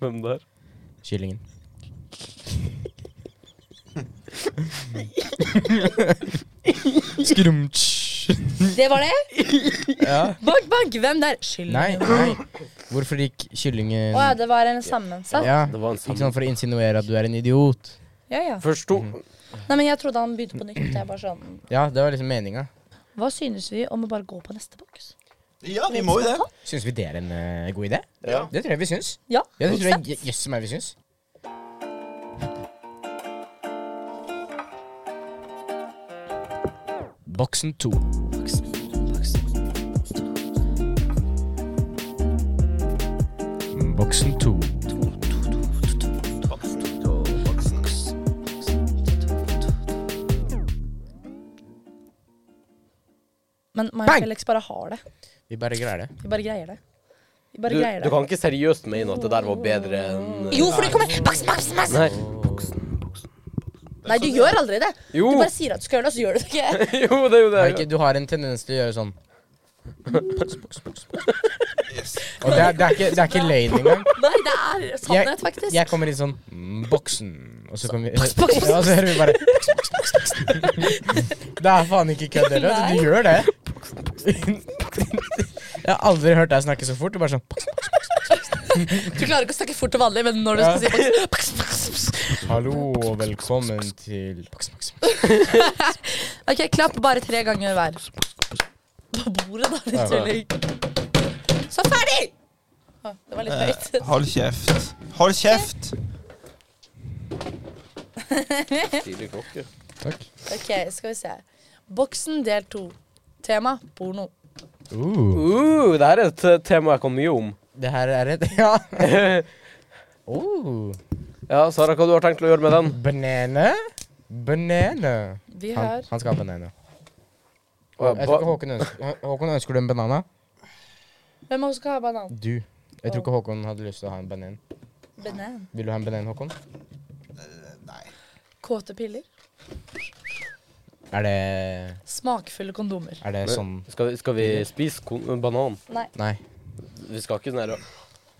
Hvem der? Kyllingen. Skrumtsj. Det var det? Ja. Bank, bank! Hvem der? Skyld. Nei, nei. Hvorfor gikk kyllingen Å ja, det var en sammensatt? Ja, Det var en Ikke sånn for å insinuere at du er en idiot. Ja, ja. Forsto Mhm. Nei, men jeg trodde han begynte på nytt. Jeg bare sånn Ja, det var liksom meninga. Hva synes vi om å bare gå på neste boks? Ja, vi må jo det. Syns vi det er en eh, god idé? Ja. Det tror jeg vi syns. Ja. Ja, det tror jeg jøss meg vi syns. Boksen to. Boksen to. Men meg Bang! og Felix bare har det. Vi bare greier det. Vi bare greier det. Vi du, bare greier du det. kan ikke seriøst mene at det der var bedre enn Jo, for det kommer Baks, baks, masse! Nei. Nei, du gjør aldri det. Jo. Du bare sier at du skal gjøre det, og så gjør du det ikke. jo, det er jo det. Har ikke, du har en tendens til å gjøre sånn. Og det er, det er, ikke, det er ikke løgn engang. Nei, det er sannhet, faktisk. Jeg kommer inn sånn mm, Boksen. Og så kommer vi boks, boks, boks. Ja, og så hører vi bare Det er faen ikke kødd heller. altså, Du gjør det. Jeg har aldri hørt deg snakke så fort. Du bare sånn boks, boks, Du klarer ikke å snakke fort og vanlig, men når du Ja. skal si boks, boks, boks, boks. boks. Hallo og velkommen til boks, boks, boks. Ok, klapp bare tre ganger hver. På bordet, da, litt Ja. tulling. Så ferdig! Å, det var litt høyt. Eh, hold kjeft. Hold kjeft! Stilig klokke. Takk. Ok, skal vi se. Boksen del to. Tema porno. Uh. Uh, det her er et eh, tema jeg kommer mye om. Det her er et Ja. ja, Uh. Sara, hva du har tenkt å gjøre med den? Banane. Banane. Vi Han, har han skal ha banane. Å, Jeg ba- tror ikke Håkon ønsker, Håkon, ønsker du en banana? Hvem av oss skal ha banan? Du. Jeg tror ikke Håkon hadde lyst til å ha en banan. Banan. Vil du ha en banan, Håkon? Kåte piller. Er det Smakfulle kondomer. Er det sånn Skal, vi- skal vi spise kon- banan? Nei. Vi skal ikke sånn her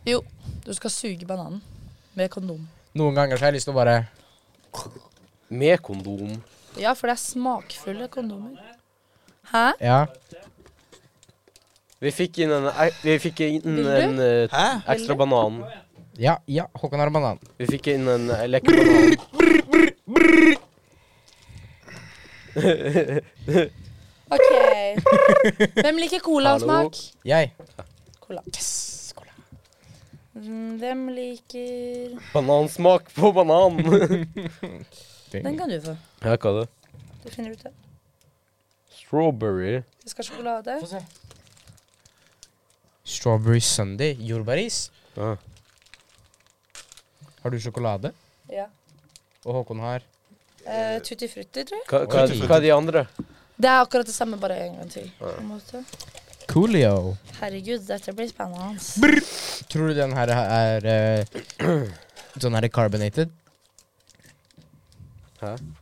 Jo, du skal suge bananen med kondom. Noen ganger så har jeg lyst til å bare Med kondom. Ja, for det er smakfulle kondomer. Hæ? Ja. Vi fikk inn en, e- vi fikk inn Vil du? en eh, Hæ? ekstra banan. Ja, ja, Håkon har en banan. Vi fikk inn en eh, lekebanan. Ok. Hvem liker colasmak? Jeg. Cola. Yes, cola. Mm, Hvem liker Banansmak på banan. Den kan du få. ja, hva er det? Du finner ut det. Strawberry. Jeg skal ha sjokolade. Få se. Strawberry Sunday. Jordbæris. Ja. Har du sjokolade? Ja. Og Håkon har Eh, Tutti frutti, tror jeg. Hva, hva, er- hva er de andre? Det er akkurat det samme, bare en gang til. På en måte. Coolio. Herregud, dette blir spennende. Tror du den her er eh, Sånn her er carbonated?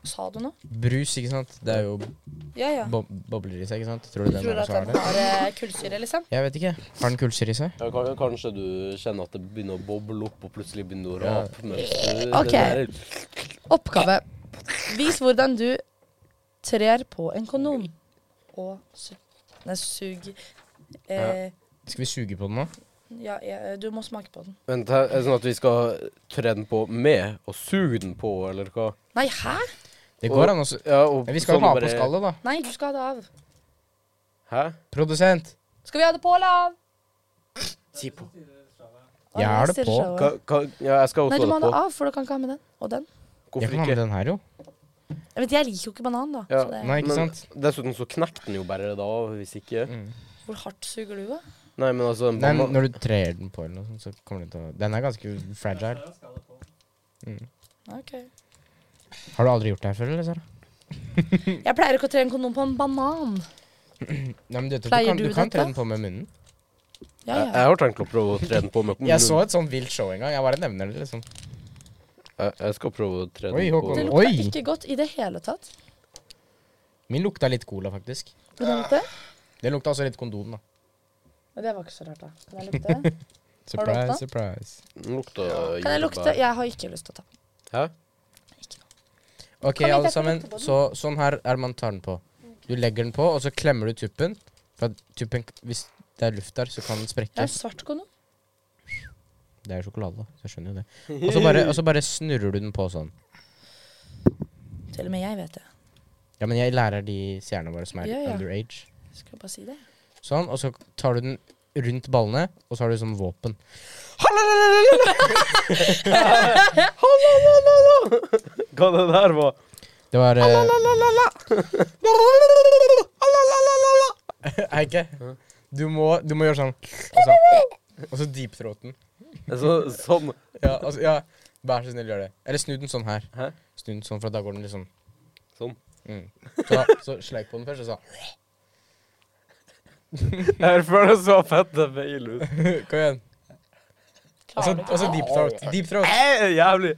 Sa du noe? Brus, ikke sant? Det er jo Ja, ja. bo bobler i seg, ikke sant? Tror du den Tror her du at også har den det? har eh, kullsyre, liksom? Jeg vet ikke. Har den kullsyre i seg? Ja, kan- kanskje du kjenner at det begynner å boble opp, og plutselig begynner det å Ja. rape. mens du- Ok. det der- Oppgave. Vis hvordan du trer på en kondom. Og su Nei, sug eh, Skal vi suge på den nå? ja, ja, du må smake på den. Vent, her, er det sånn at vi skal tre den på med, og suge den på, eller hva? Nei, hæ? Det Og- går an å su- Ja, og Men Vi skal jo sånn ha bare- på skallet, da. Nei, du skal ha det av. Hæ? Produsent. Skal vi ha det på eller av? Si på. Å, Jeg har det stirrer på. seg over. Hva, hva, ja, jeg skal også Nei, du må ha ha det det på. av, for du kan ikke ha med den. Og den. Jeg kan ha Hvorfor med ikke? den her, jo. Jeg vet, jeg liker jo ikke banan, da. Ja. Så det, Nei, ikke Men sant? Mm. dessuten så knekker den jo bare da, hvis ikke. hvor hardt suger du, da? Nei, men altså en Nei, men banan- når du trer den på, eller noe sånt, så kommer den til å Den er ganske fragile. Ok. Har du aldri gjort det her før, eller, Sara? Jeg pleier ikke å tre en kondom på en banan. Nei, men du, vet at du Pleier kan, du du kan dette? tre den på med munnen. Ja, jeg, ja. jeg har tenkt å prøve å tre den på med Jeg så et sånt vilt show en gang. Jeg bare nevner det, liksom. Jeg, jeg skal prøve å tre den Oi, på Håkon. Det med. lukta Oi. ikke godt i det hele tatt. Min lukta litt cola, faktisk. Hvordan lukter det? Det lukta også litt kondom, da. Ja, Det var ikke så rart, da. Kan jeg lukte det? Har du Surprise, åpnet? surprise. Den lukter Kan jeg lukte? jordbær. Jeg har ikke lyst til å ta. Hæ? Ok, Kan vi alle ikke sammen. lukte på den? Så, sånn her er man tar den på. Du legger den på, og så klemmer du tuppen. For at tuppen, hvis det er luft der, så kan den Jeg sprekke. har svart kondom. Det er jo sjokolade, da. Så jeg skjønner jo det. Og så bare, og så bare snurrer du den på sånn. Til og med jeg vet det. Ja, men jeg lærer de seerne våre som er Ja, ja. underage. Jeg Skulle bare si det. Sånn, og så tar du den rundt ballene, og så har du sånn våpen. Hva det der var? Det var eh, Heike, du må, du må gjøre sånn. Og så, og så deep-throat den. Så, sånn. Ja, altså, ja, vær så snill, gjør det. Eller snu den sånn her. Hæ? Snu den sånn, for da går den litt sånn. Sånn. Mm. Så, så sleik på den først, og så Jeg føler det så fett det feil ut. Altså, Kom igjen. Og så, og så deep-throat. Deep-throat. Eh, Jævlig.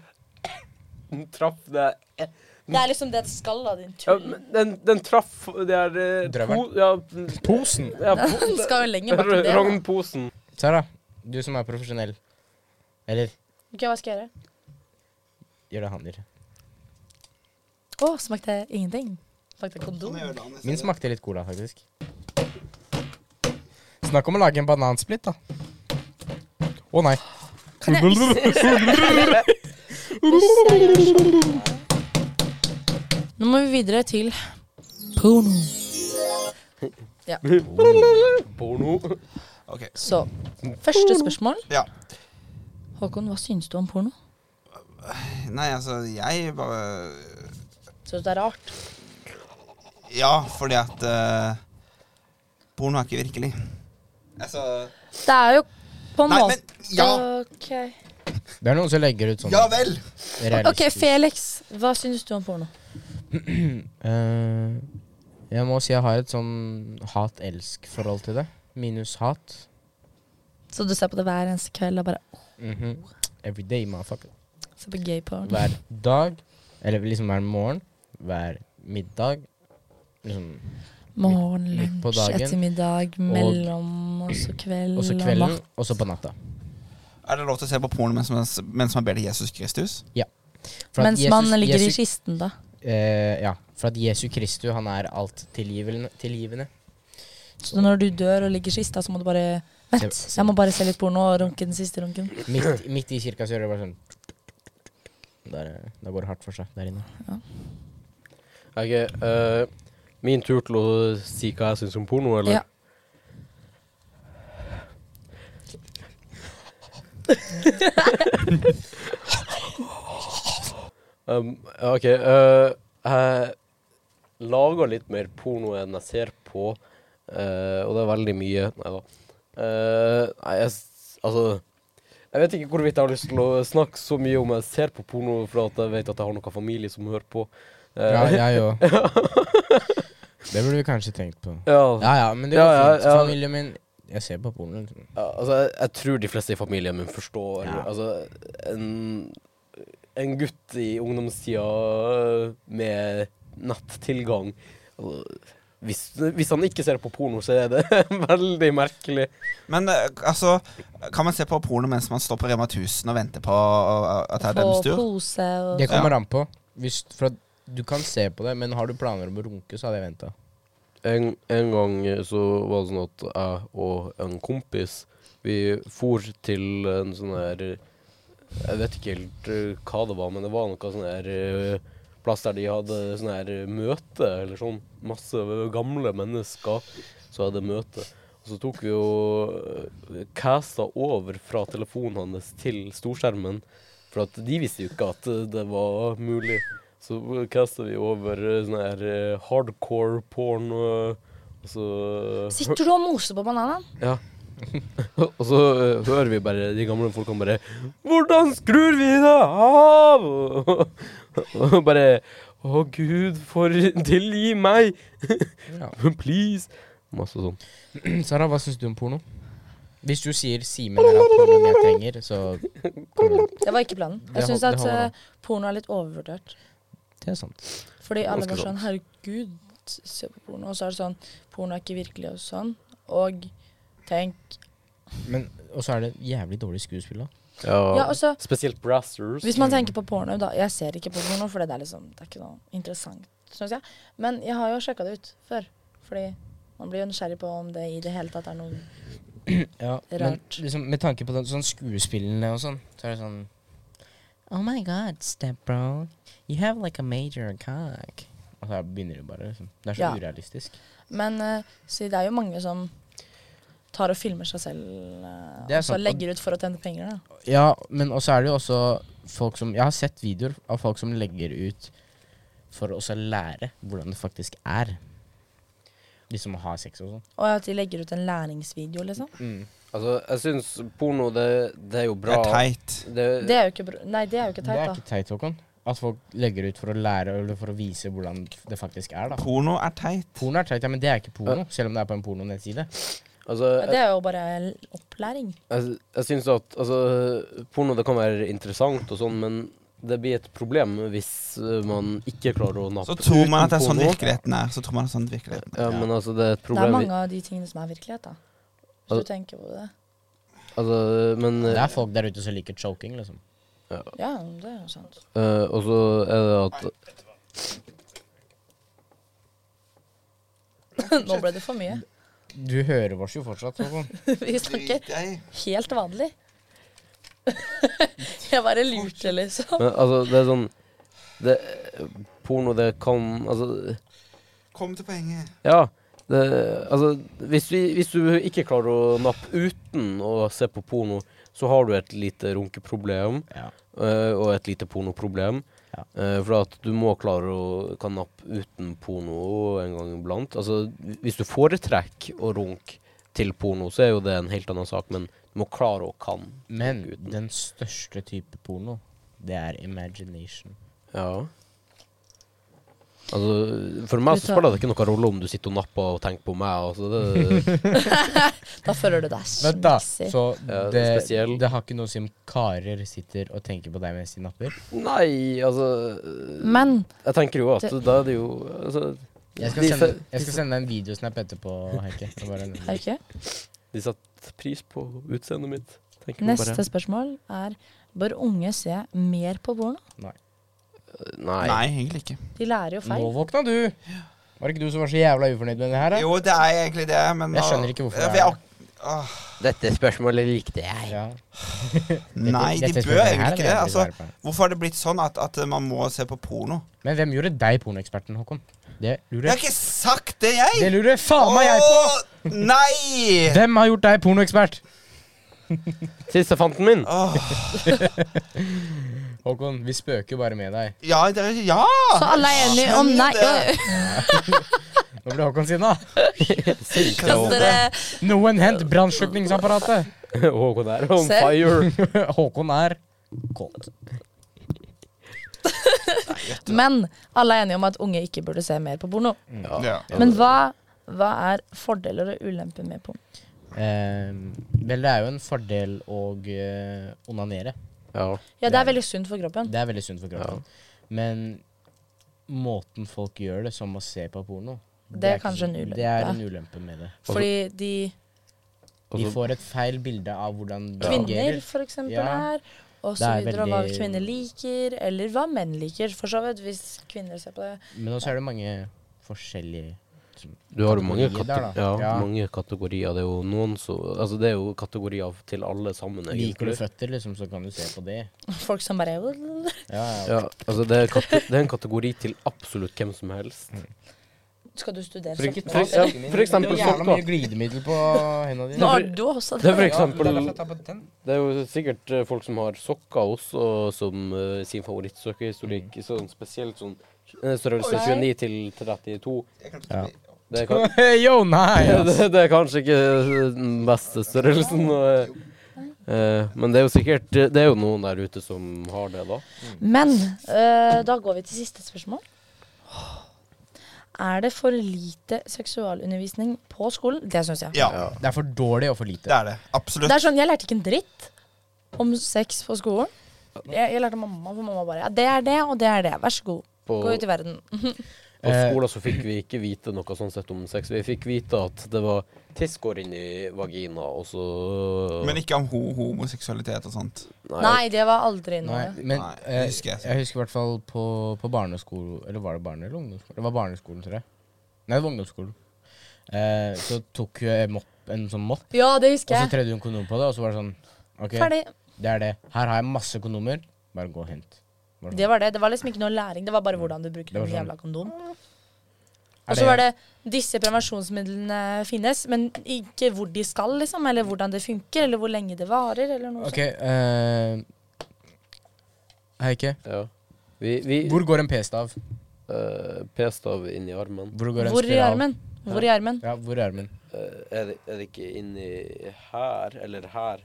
Den traff det Det er liksom det skallet din ja, tull. men den, den traff Det er eh, Drøvelen. po- Ja, Posen! ja Den po- skal jo lenger bak enn det. da. Rognposen. Sara, du som er profesjonell. Eller Ok, hva skal jeg gjøre? gjør det han gjør. Å, smakte jeg ingenting? Smakte kondom? Sånn Min smakte litt cola, faktisk. Snakk om å lage en banansplitt, da. Å nei. Kan jeg Nå må vi videre til porno. Porno. Ok, Så første spørsmål. ja. Håkon, hva syns du om porno? Nei, altså, jeg bare Syns du det er rart? Ja, fordi at eh, Porno er ikke virkelig. Altså Det er jo på en Nei, måte men ja, Ok, Det er noen som legger ut sånn ja vel! Ok, realistisk. Felix, hva syns du om porno? Eh, jeg må si jeg har et sånn hat-elsk-forhold til det. Minus hat. Så du ser på det hver eneste kveld og bare Mhm. Every day, motherfucker. ser på gay porn? Hver dag. Eller liksom hver morgen. Hver middag. Liksom Morgen, midt på lunsj, dagen. ettermiddag, mellom, og så kveld også og kvelden, natt. også på natta. Er det lov til å se på porno mens, mens, mens man ber til Jesus Kristus? For at Mens man Jesus- ligger i Jesus- kisten, da. Eh, ja, for at Jesu Kristu, han er alt tilgivende. tilgivende. Så når du dør og ligger i kista, så må du bare Vent, Se- se- jeg må bare se litt porno og runke den siste runken. Midt, midt i kirka så gjør det bare sånn der, eh, Da går det hardt for seg der inne. Ok, eh, min tur til å si hva jeg syns om porno, eller? Ja. um, OK. eh, jeg lager litt mer porno enn jeg ser på, eh, og det er veldig mye. Nei da. Eh, nei, jeg s- Altså Jeg vet ikke hvorvidt jeg har lyst til å snakke så mye om jeg ser på porno, for at jeg vet at jeg har noen familie som hører på. Eh, Ja, jeg òg. Det burde vi kanskje tenkt på. ja. Ja ja, men det går Ja, ja, fint. ja. Familien min Jeg ser på porno. liksom. Ja, altså, jeg, jeg tror de fleste i familien min forstår Ja. Altså, en, en gutt i ungdomstida øh, med nettilgang altså, hvis, hvis han ikke ser på porno, så er det veldig merkelig. Men eh, altså, kan man se på porno mens man står på Rema 1000 og venter på eh, at det er Få deres tur? pose og Det kommer an på. Hvis, for at du kan se på det, men har du planer om å runke, så hadde jeg venta. En, en gang så var det sånn at jeg og en kompis Vi for til en sånn her Jeg vet ikke helt eh, hva det var, men det var noe sånn her eh, plass der de hadde sånn her møte, eller sånn. Masse gamle mennesker som hadde møte. Og så tok vi og eh, casta over fra telefonen hans til storskjermen, for at de visste jo ikke at eh, det var mulig. Så casta vi over eh, sånn her eh, hardcore porn eh, og så Sitter du og moser på bananen? Ja. og så eh, hører vi bare de gamle folkene bare 'Hvordan skrur vi det av?' og bare 'Å, Gud, for tilgi meg! Ja. Please!' Masse sånn. Sara, hva syns du om porno? Hvis du sier 'Simen er alt pornoen jeg trenger', så kommer det. Det var ikke planen. Det Jeg syns hold- det at holder eh, porno er litt overvurdert. Det er sant. Fordi alle Ganske var sånn Herregud, se på porno. Og så er det sånn Porno er ikke virkelig og sånn. Og tenk Men, og så er det jævlig dårlig skuespill, da. Ja, altså Spesielt brassers. Hvis man tenker på porno, da Jeg ser ikke på porno, for det er liksom Det er ikke noe interessant, syns jeg. Men jeg har jo sjekka det ut før. Fordi man blir jo nysgjerrig på om det i det hele tatt er noe Ja, men Rart. liksom, med tanke på den, sånn skuespillene og sånn, så er det sånn Oh my god, stepbro. You have like a major cock. Og så begynner det bare. liksom. Det er så Ja. urealistisk. Men eh, så det er jo mange som tar og filmer seg selv eh, Det er og så sant, og- legger ut for å tjene penger. da. Ja, men også er det jo også folk som Jeg har sett videoer av folk som legger ut for å også lære hvordan det faktisk er. De som har sex og sånn. Og at de legger ut en læringsvideo, liksom. Altså, jeg syns porno, det, det er jo Det bra. er teit. Det- Det er jo ikke, br- nei, det er jo ikke Eh, Det er teit, da. ikke teit, Håkon. At folk legger ut for å lære eller for å vise hvordan det faktisk er. da Porno er teit. Porno er teit, ja, men det er ikke porno, selv om det er på en porno-nettside. altså, Det er jo bare l- opplæring. Jeg, jeg syns at altså, porno det kan være interessant og sånn, men det blir et problem hvis eh, man ikke klarer å nappe Så tror man at det er utenpå sånn noe. virkeligheten er. Så tror man at det er sånn virkeligheten er. Ja, men altså, det er et Det er problem mange av de tingene som er virkelighet, da. Hvis Altså- du tenker på det. altså, Men Det er folk der ute som liker choking, liksom. Ja, det er jo sant. eh, Og så er det at Nå ble det for mye. Du hører oss jo fortsatt. Håkon. Vi snakker helt vanlig. Jeg bare lurte, liksom. Men altså, det er sånn det, Porno, det kan Altså Kom til poenget. Ja. Det, altså, hvis, vi, hvis du ikke klarer å nappe uten å se på porno, så har du et lite runkeproblem Ja. eh, og et lite pornoproblem. Ja. Eh, for at du må klare å kan nappe uten porno en gang iblant. Altså, hvis du foretrekker å runke til porno, så er jo det en helt annen sak, men du må klare og kan. Men den største type porno, det er imagination. Ja. Altså, for meg så spiller det ikke noen rolle om du sitter og napper og tenker på meg. Altså, det, Da føler du deg Vent, da. snissig. Så Ja, det, spesiell. det har ikke noe å si om karer sitter og tenker på deg mens de napper? nei, altså Men Jeg tenker jo at Det- da er det jo altså, Jeg skal de, sende, se- jeg skal sende deg en videosnap etterpå, Heikki. Det er bare- er det ikke? de satte pris på utseendet mitt. Tenker jeg Neste spørsmål er Bør unge se mer på porno? Bare. Nei. Nei, egentlig ikke. De lærer jo Nå feil. våkna du! Var det ikke du som var så jævla ufornøyd med det her? da? Jo, det er egentlig det, men Jeg skjønner ikke hvorfor Ja, det for er jeg- Åh, Dette spørsmålet likte jeg. Ja. Nei, de Dette- dette bør spørsmålet her egentlig ikke det. er Altså, veldig svært. hvorfor har det blitt sånn at, at man må se på porno? Men hvem gjorde deg pornoeksperten, Håkon? Det Jeg lurer har ikke sagt det, jeg! Det lurer faen meg jeg på! Åh, Nei! Hvem har gjort deg pornoekspert? Siste fanten min. Åh, Håkon, vi spøker jo bare med deg. ja, det er, ja! Så alle er enige om Skjønner nei. det. Nå ble Håkon sinna. Kaster dere- Noen hent brannslukningsapparatet. Håkon er on Se. fire. Håkon er kåt. Men alle er enige om at unge ikke burde se mer på porno. Mm. Ja. Men hva, hva er fordeler og ulemper med porno? Eh, vel, det er jo en fordel å eh, onanere. Ja. Ja, det er veldig sunt for kroppen. Det er veldig sunt for kroppen. Men måten folk gjør det, som å se på porno Det er er kanskje ikke- en ulempe. Det er en ulempe med det. Fordi de De Altså- får et feil bilde av hvordan det kvinner, fungerer. for eksempel, Ja. er, og så Det er videre, og hva veldig- kvinner liker, eller hva menn liker, for så vidt, hvis kvinner ser på det. Men også er det mange forskjellige Du har jo mange, Kategorier der, kate- da. ja, Ja. mange kategorier. Det er jo noen som Altså, det er jo kategorier til alle sammen, Liker du egentlig. føtter, liksom, så kan du se på det. Folk som bare Ja, ja. Ja, altså, det er, kate det er en kategori til absolutt hvem som helst. Mm. Skal du studere For, ikke, sånn? for, ja, for eksempel Det er jævla folk, mye da. glidemiddel på hendene dine. Nå er du også Det er for der. eksempel eksempel Det er jo sikkert eh, folk som har sokker også, som eh, sin favorittsokkehistorikk. Sånn spesielt sånn eh, størrelse 29 til 32. Ja. Det er, kan, Yo, nei! ass. det, det er kanskje ikke eh, den beste størrelsen. Og, eh, eh, men det er jo sikkert eh, Det er jo noen der ute som har det, da. Men øh, da går vi til siste spørsmål. Er det for lite seksualundervisning på skolen? Det syns jeg. ja, Det er for dårlig og for lite. det er det. Absolutt. Det er sånn, Jeg lærte ikke en dritt om sex på skolen. Jeg, jeg lærte av mamma, for mamma bare Ja, det er det, og det er det. Vær så god. På, Gå ut i verden. på skolen så fikk vi ikke vite noe sånn sett om sex. Vi fikk vite at det var tiss går inn i vagina, og så Men ikke om ho homoseksualitet og sånt. Nei, det var aldri noe. Nei, men Nei, det eh, husker jeg. jeg husker i hvert fall på, på barneskolen Eller var det barne- eller ungdomsskolen? Det var barneskolen, tror jeg. Nei, det var ungdomsskolen. Eh, så tok hun en mopp, en sånn mopp, Ja, det og husker så jeg. tredde hun kondom på det, og så var det sånn OK, Ferdig. det er det. Her har jeg masse kondomer. Bare gå og hent. Var Det var det. Det var liksom ikke noe læring. Det var bare hvordan du bruker Det var noen sånn- jævla kondom. Er Og så var det disse prevensjonsmidlene finnes, men ikke hvor de skal, liksom. Eller hvordan det funker, eller hvor lenge det varer, eller noe OK. eh, Heike, Ja. Vi, vi hvor går en p-stav? eh, p-stav inn i armen. Hvor sånt. går en Hvor i spiral? armen? Hvor i armen? Ja, hvor i armen? Eh, er, det, er det ikke inni her eller her?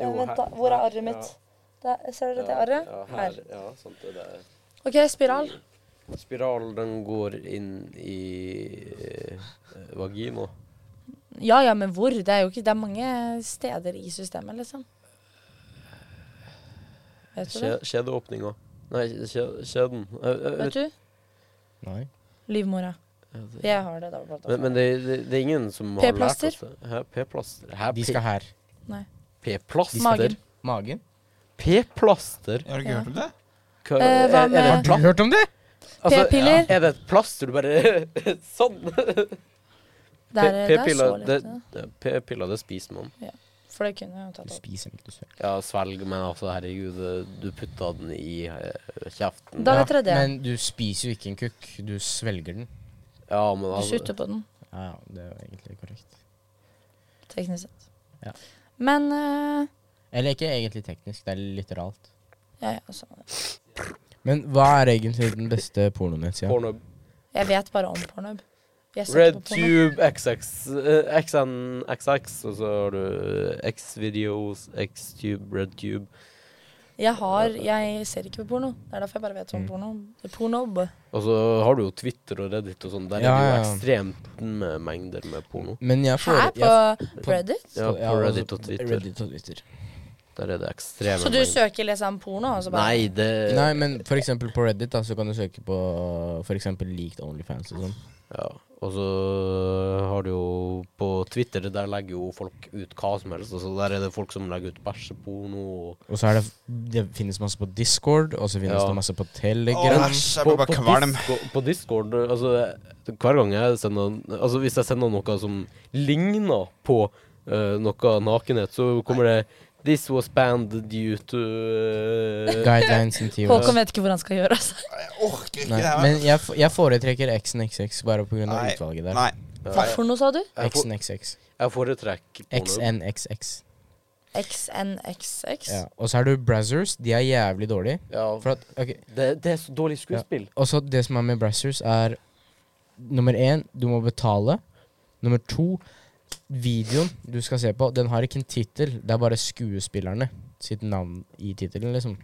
Ja, Eh, vent da, hvor er arret mitt? Der, ser dere det arret? Ja, her. Her. Ja, sant det der. OK, spiral. Spiral, den går inn i eh, vagina. Ja ja, men hvor? Det er jo ikke Det er mange steder i systemet, liksom. Vet du det? Skje- Skjedeåpninga. Nei, Eh, kjør, kjør den. Jeg- jeg vet- Vet du? Nei. Livmora. eh, Jeg har det. da blant Men, annet. men det, det, det er ingen som har lært P-plaster? oss det. Hæ, P-plaster? Hæ, De skal her. P-plaster? Magen. Magen? P-plaster? Har du ikke Ja. hørt om det? Hva- Eh, hva er- er det med- et pla- hørt om det? altså, P-piller? Er det et plaster du bare Sånn! Det er, det er så P-piller, lett. det. det- P-piller, det spiser man. For det kunne jeg jo tatt Du opp. spiser ikke, du svelger. Ja, svelg, men altså, herregud, det- du putta den i eh, kjeften. Da vet dere det. Men du spiser jo ikke en kukk, du svelger den. Ja, men Du altså sutter på den, Ja, ja, det er jo egentlig korrekt. teknisk sett. Ja. Men eh, Eller ikke egentlig teknisk, det er litteralt. ja, ja, altså, Men hva er egentlig den beste pornonettsida? Pornhub. Jeg vet bare om pornhub. Jeg setter på porno. RedTube, XX, eh, XNXX, og så har du X-Videos, X-Tube, RedTube. Jeg har Jeg ser ikke på porno. Det er derfor jeg bare vet om Mm. porno. Pornob. Og så har du jo Twitter og Reddit og sånn. Der Ja, er det ja, jo ja. ekstremt med mengder med porno. Men jeg Her får på jeg- Reddit? Ja, ja, på altså, Reddit og Twitter. Reddit og Twitter. Der er det ekstreme Så du søker liksom porno, og så bare Nei, det Nei, men for eksempel på Reddit da, så kan du søke på for eksempel leaked Onlyfans og sånn. Ja. Og så har du jo På Twitter, der legger jo folk ut hva som helst. Altså, der er det folk som legger ut bæsjeporno og Og så er det, det finnes masse på Discord, og så finnes Ja. det masse på Åh, Telegram. æsj, jeg blir bare kvalm. Discord, på Discord altså, Hver gang jeg sender Altså, hvis jeg sender noe som ligner på eh, noe nakenhet, så kommer det This was banned due to eh, Guidelines and TOS. Håkon vet ikke hvor han skal gjøre altså. Jeg orker ikke Nei, det her. men jeg, f- jeg foretrekker XNXX bare på grunn av Nei, utvalget der. Nei. Hva for noe, sa du? Jeg, for, XNXX. jeg foretrekker porno. XNXX. XNXX? Ja. Og så er du Brazzers. De er jævlig dårlige. Ja, For at, ok, det, det er så dårlig skuespill. Og så det som er med Brazzers, er nummer én, du må betale. Nummer to, videoen du skal se på, den har ikke en tittel. Det er bare skuespillerne sitt navn i tittelen, liksom.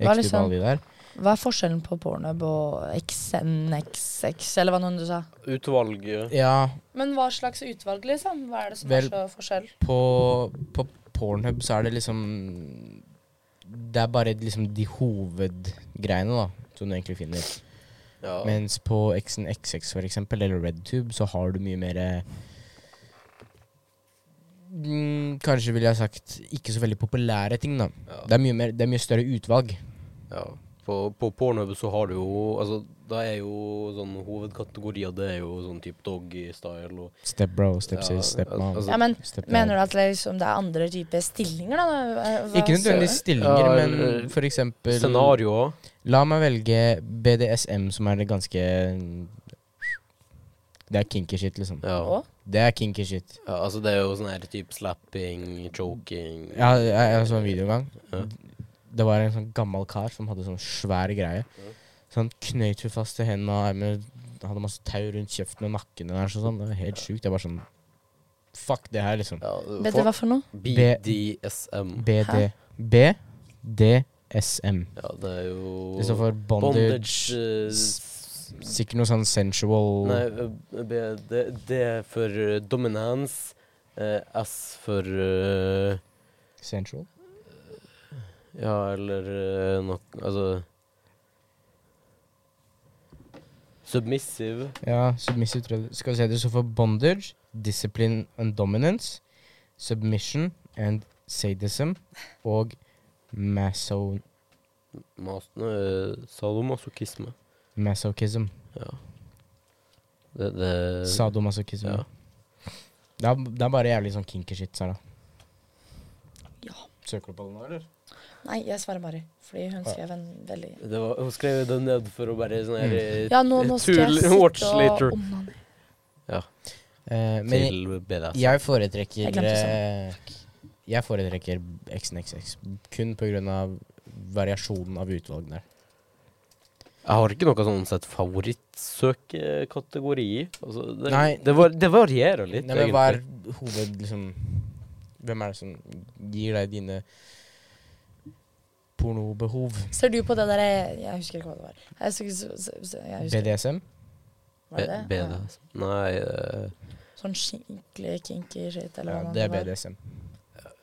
Hva er Ekte liksom- ball i der. Hva er forskjellen på pornob og XNXX, eller hva noen du sa? Utvalget Ja, Men hva slags utvalg, liksom? Hva er det som Vel- er så forskjell? på, på Pornhub så er det liksom Det er bare liksom de hovedgreiene, da, som du egentlig finner. ja. Mens på XNXX for eksempel, eller RedTube, så har du mye mer eh, mm, Kanskje ville jeg sagt ikke så veldig populære ting, da. Ja. Det er mye, mer, det er mye større utvalg. Ja. På, på Pornhub så har du jo Altså, da er jo sånn hovedkategorier, det er jo sånn type doggystyle og Stepbro, stepsis, Ja, stepmom. altså- Ja, men stepdad. Mener du at det, liksom, det er andre typer stillinger, da? Hva- Ikke nødvendigvis stillinger, Ja, eller- men for eksempel scenarioer. La meg velge BDSM, som er det ganske Det er kinky shit, liksom. Ja. Å? Det er kinky shit. ja. Altså, det er jo sånn her type slapping, choking Ja, jeg, jeg så en video en gang. Ja. Det var en sånn gammel kar som hadde sånn svær greie. Så han knøyt henne fast til hendene og armene. Hadde masse tau rundt kjeften og nakken. hennes og sånn. Det var helt sjukt. Jeg bare sånn Fuck det her, liksom. Ja, Vet folk- dere hva for noe? BDSM. BD. BDSM. Ja, det er jo Det står for bondage eh, s- Sikkert noe sånn sensual Nei, eh, BD D er for eh, dominans. eh, S for eh, Sensual? Ja, eller eh, nok Altså Submissive. Ja, submissive tror jeg. det- Skal vi se, det står for bondage, discipline and dominance, submission and sadism og maso Mas eh, sadomasochisme. masochism. Ja. Det, Eh, det Sadomasochism. ja. Det, er, det er bare jævlig sånn kinky shit, Sara. Ja. Søker du på den nå, eller? Nei, jeg svarer Mari, fordi hun skrev en veldig det var, hun skrev det ned for å bare sånn Mm. her eh, Ja, nå, nå skal jeg to sitte watch og later onanere. Eh, men jeg, til BDS. jeg Jeg foretrekker glemte eh, Jeg foretrekker XNXX kun på grunn av variasjonen av utvalgene. Jeg har ikke noe sånn sett favorittsøkekategori. Altså, det, Nei. Det, var, det varierer litt, Nei, men hva er hoved... Liksom, hvem er det som gir deg dine pornobehov? Ser du på det der Jeg husker ikke hva det var. Jeg husker, så- så- så- jeg husker, BDSM? var det det? B- altså. BDS. Nei eh, Ja. Sånn skikkelig kinky shit, eller Ja, hva det er var. BDSM.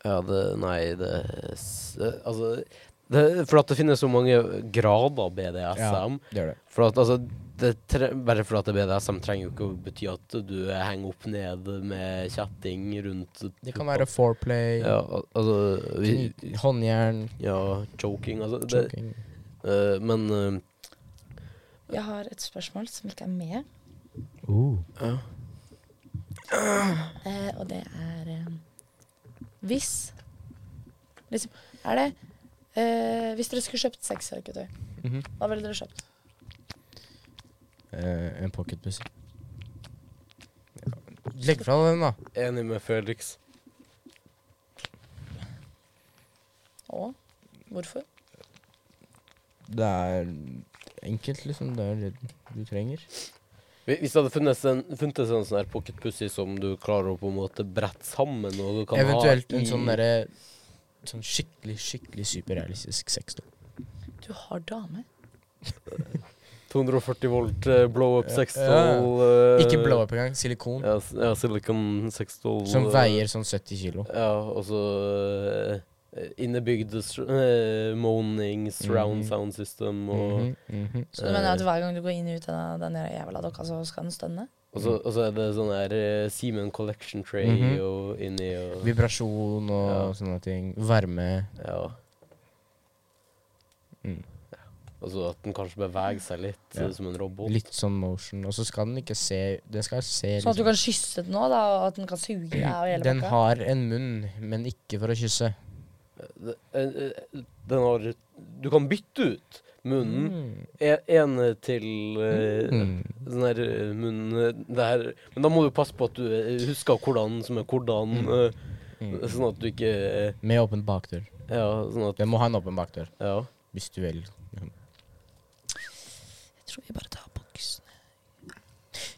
Ja, det Nei, det s- eh, Altså, Det, er for at det finnes så mange grader BDSM. det gjør det. For at, altså, det tre bare fordi at det er BDSM, trenger jo ikke å bety at du henger opp ned med kjetting rundt Det kan være foreplay, ja, al- altså, vi, kni- håndjern, ja, choking, altså. Det, choking. eh, men eh, Jeg har et spørsmål som ikke er med. Ja. Eh, og det er eh, Hvis liksom, Er det eh, Hvis dere skulle kjøpt sexverketøy, Mhm. hva ville dere kjøpt? Eh, en pocketpussy. Legg fra deg den, da. Enig med Felix. Og hvorfor? Det er enkelt, liksom. Det er det du trenger. Hvis hvis det hadde funnes en, funnes en sånn her pocket pussy som du klarer å på en måte brette sammen og du kan Eventuelt ha i- en sånn derre Sånn skikkelig, skikkelig superrealistisk sexdoll. Du har dame. 240 volt eh, blow up Ja. sexdoll eh, Ikke blow up engang. Silikon. Ja, s- ja silicon sexdoll Som eh, veier sånn 70 kilo. Ja, og så eh, innebygd s- eh, moaning surround Mhm. sound system og Mhm, mhm. Så du Eh. mener at hver gang du går inn og ut av den der jævla dokka, så skal den stønne? Sånn og, så, og så er det sånn her eh, Siemens collection tray Mhm. og inni og Vibrasjon og Ja. sånne ting. Varme. Ja. Mm. Og så at den kanskje beveger seg litt, Ja. eh, som en robot. Litt sånn motion. Og så skal den ikke se Den skal se Sånn at du liksom- kan kysse den òg, da, og at den kan suge deg og hele Den pakka? har en munn, men ikke for å kysse. Det- eh, eh, Den har Du kan bytte ut munnen. Mm. E- En eh, til eh, Mm. sånn her eh, munn eh, det her. Men da må du passe på at du eh, husker hvordan som er hvordan, eh, Mm. sånn at du ikke eh, Med åpen bakdør. Ja, sånn at Den må ha en åpen bakdør. Ja. Hvis du vil. Jeg tror vi bare tar boksen.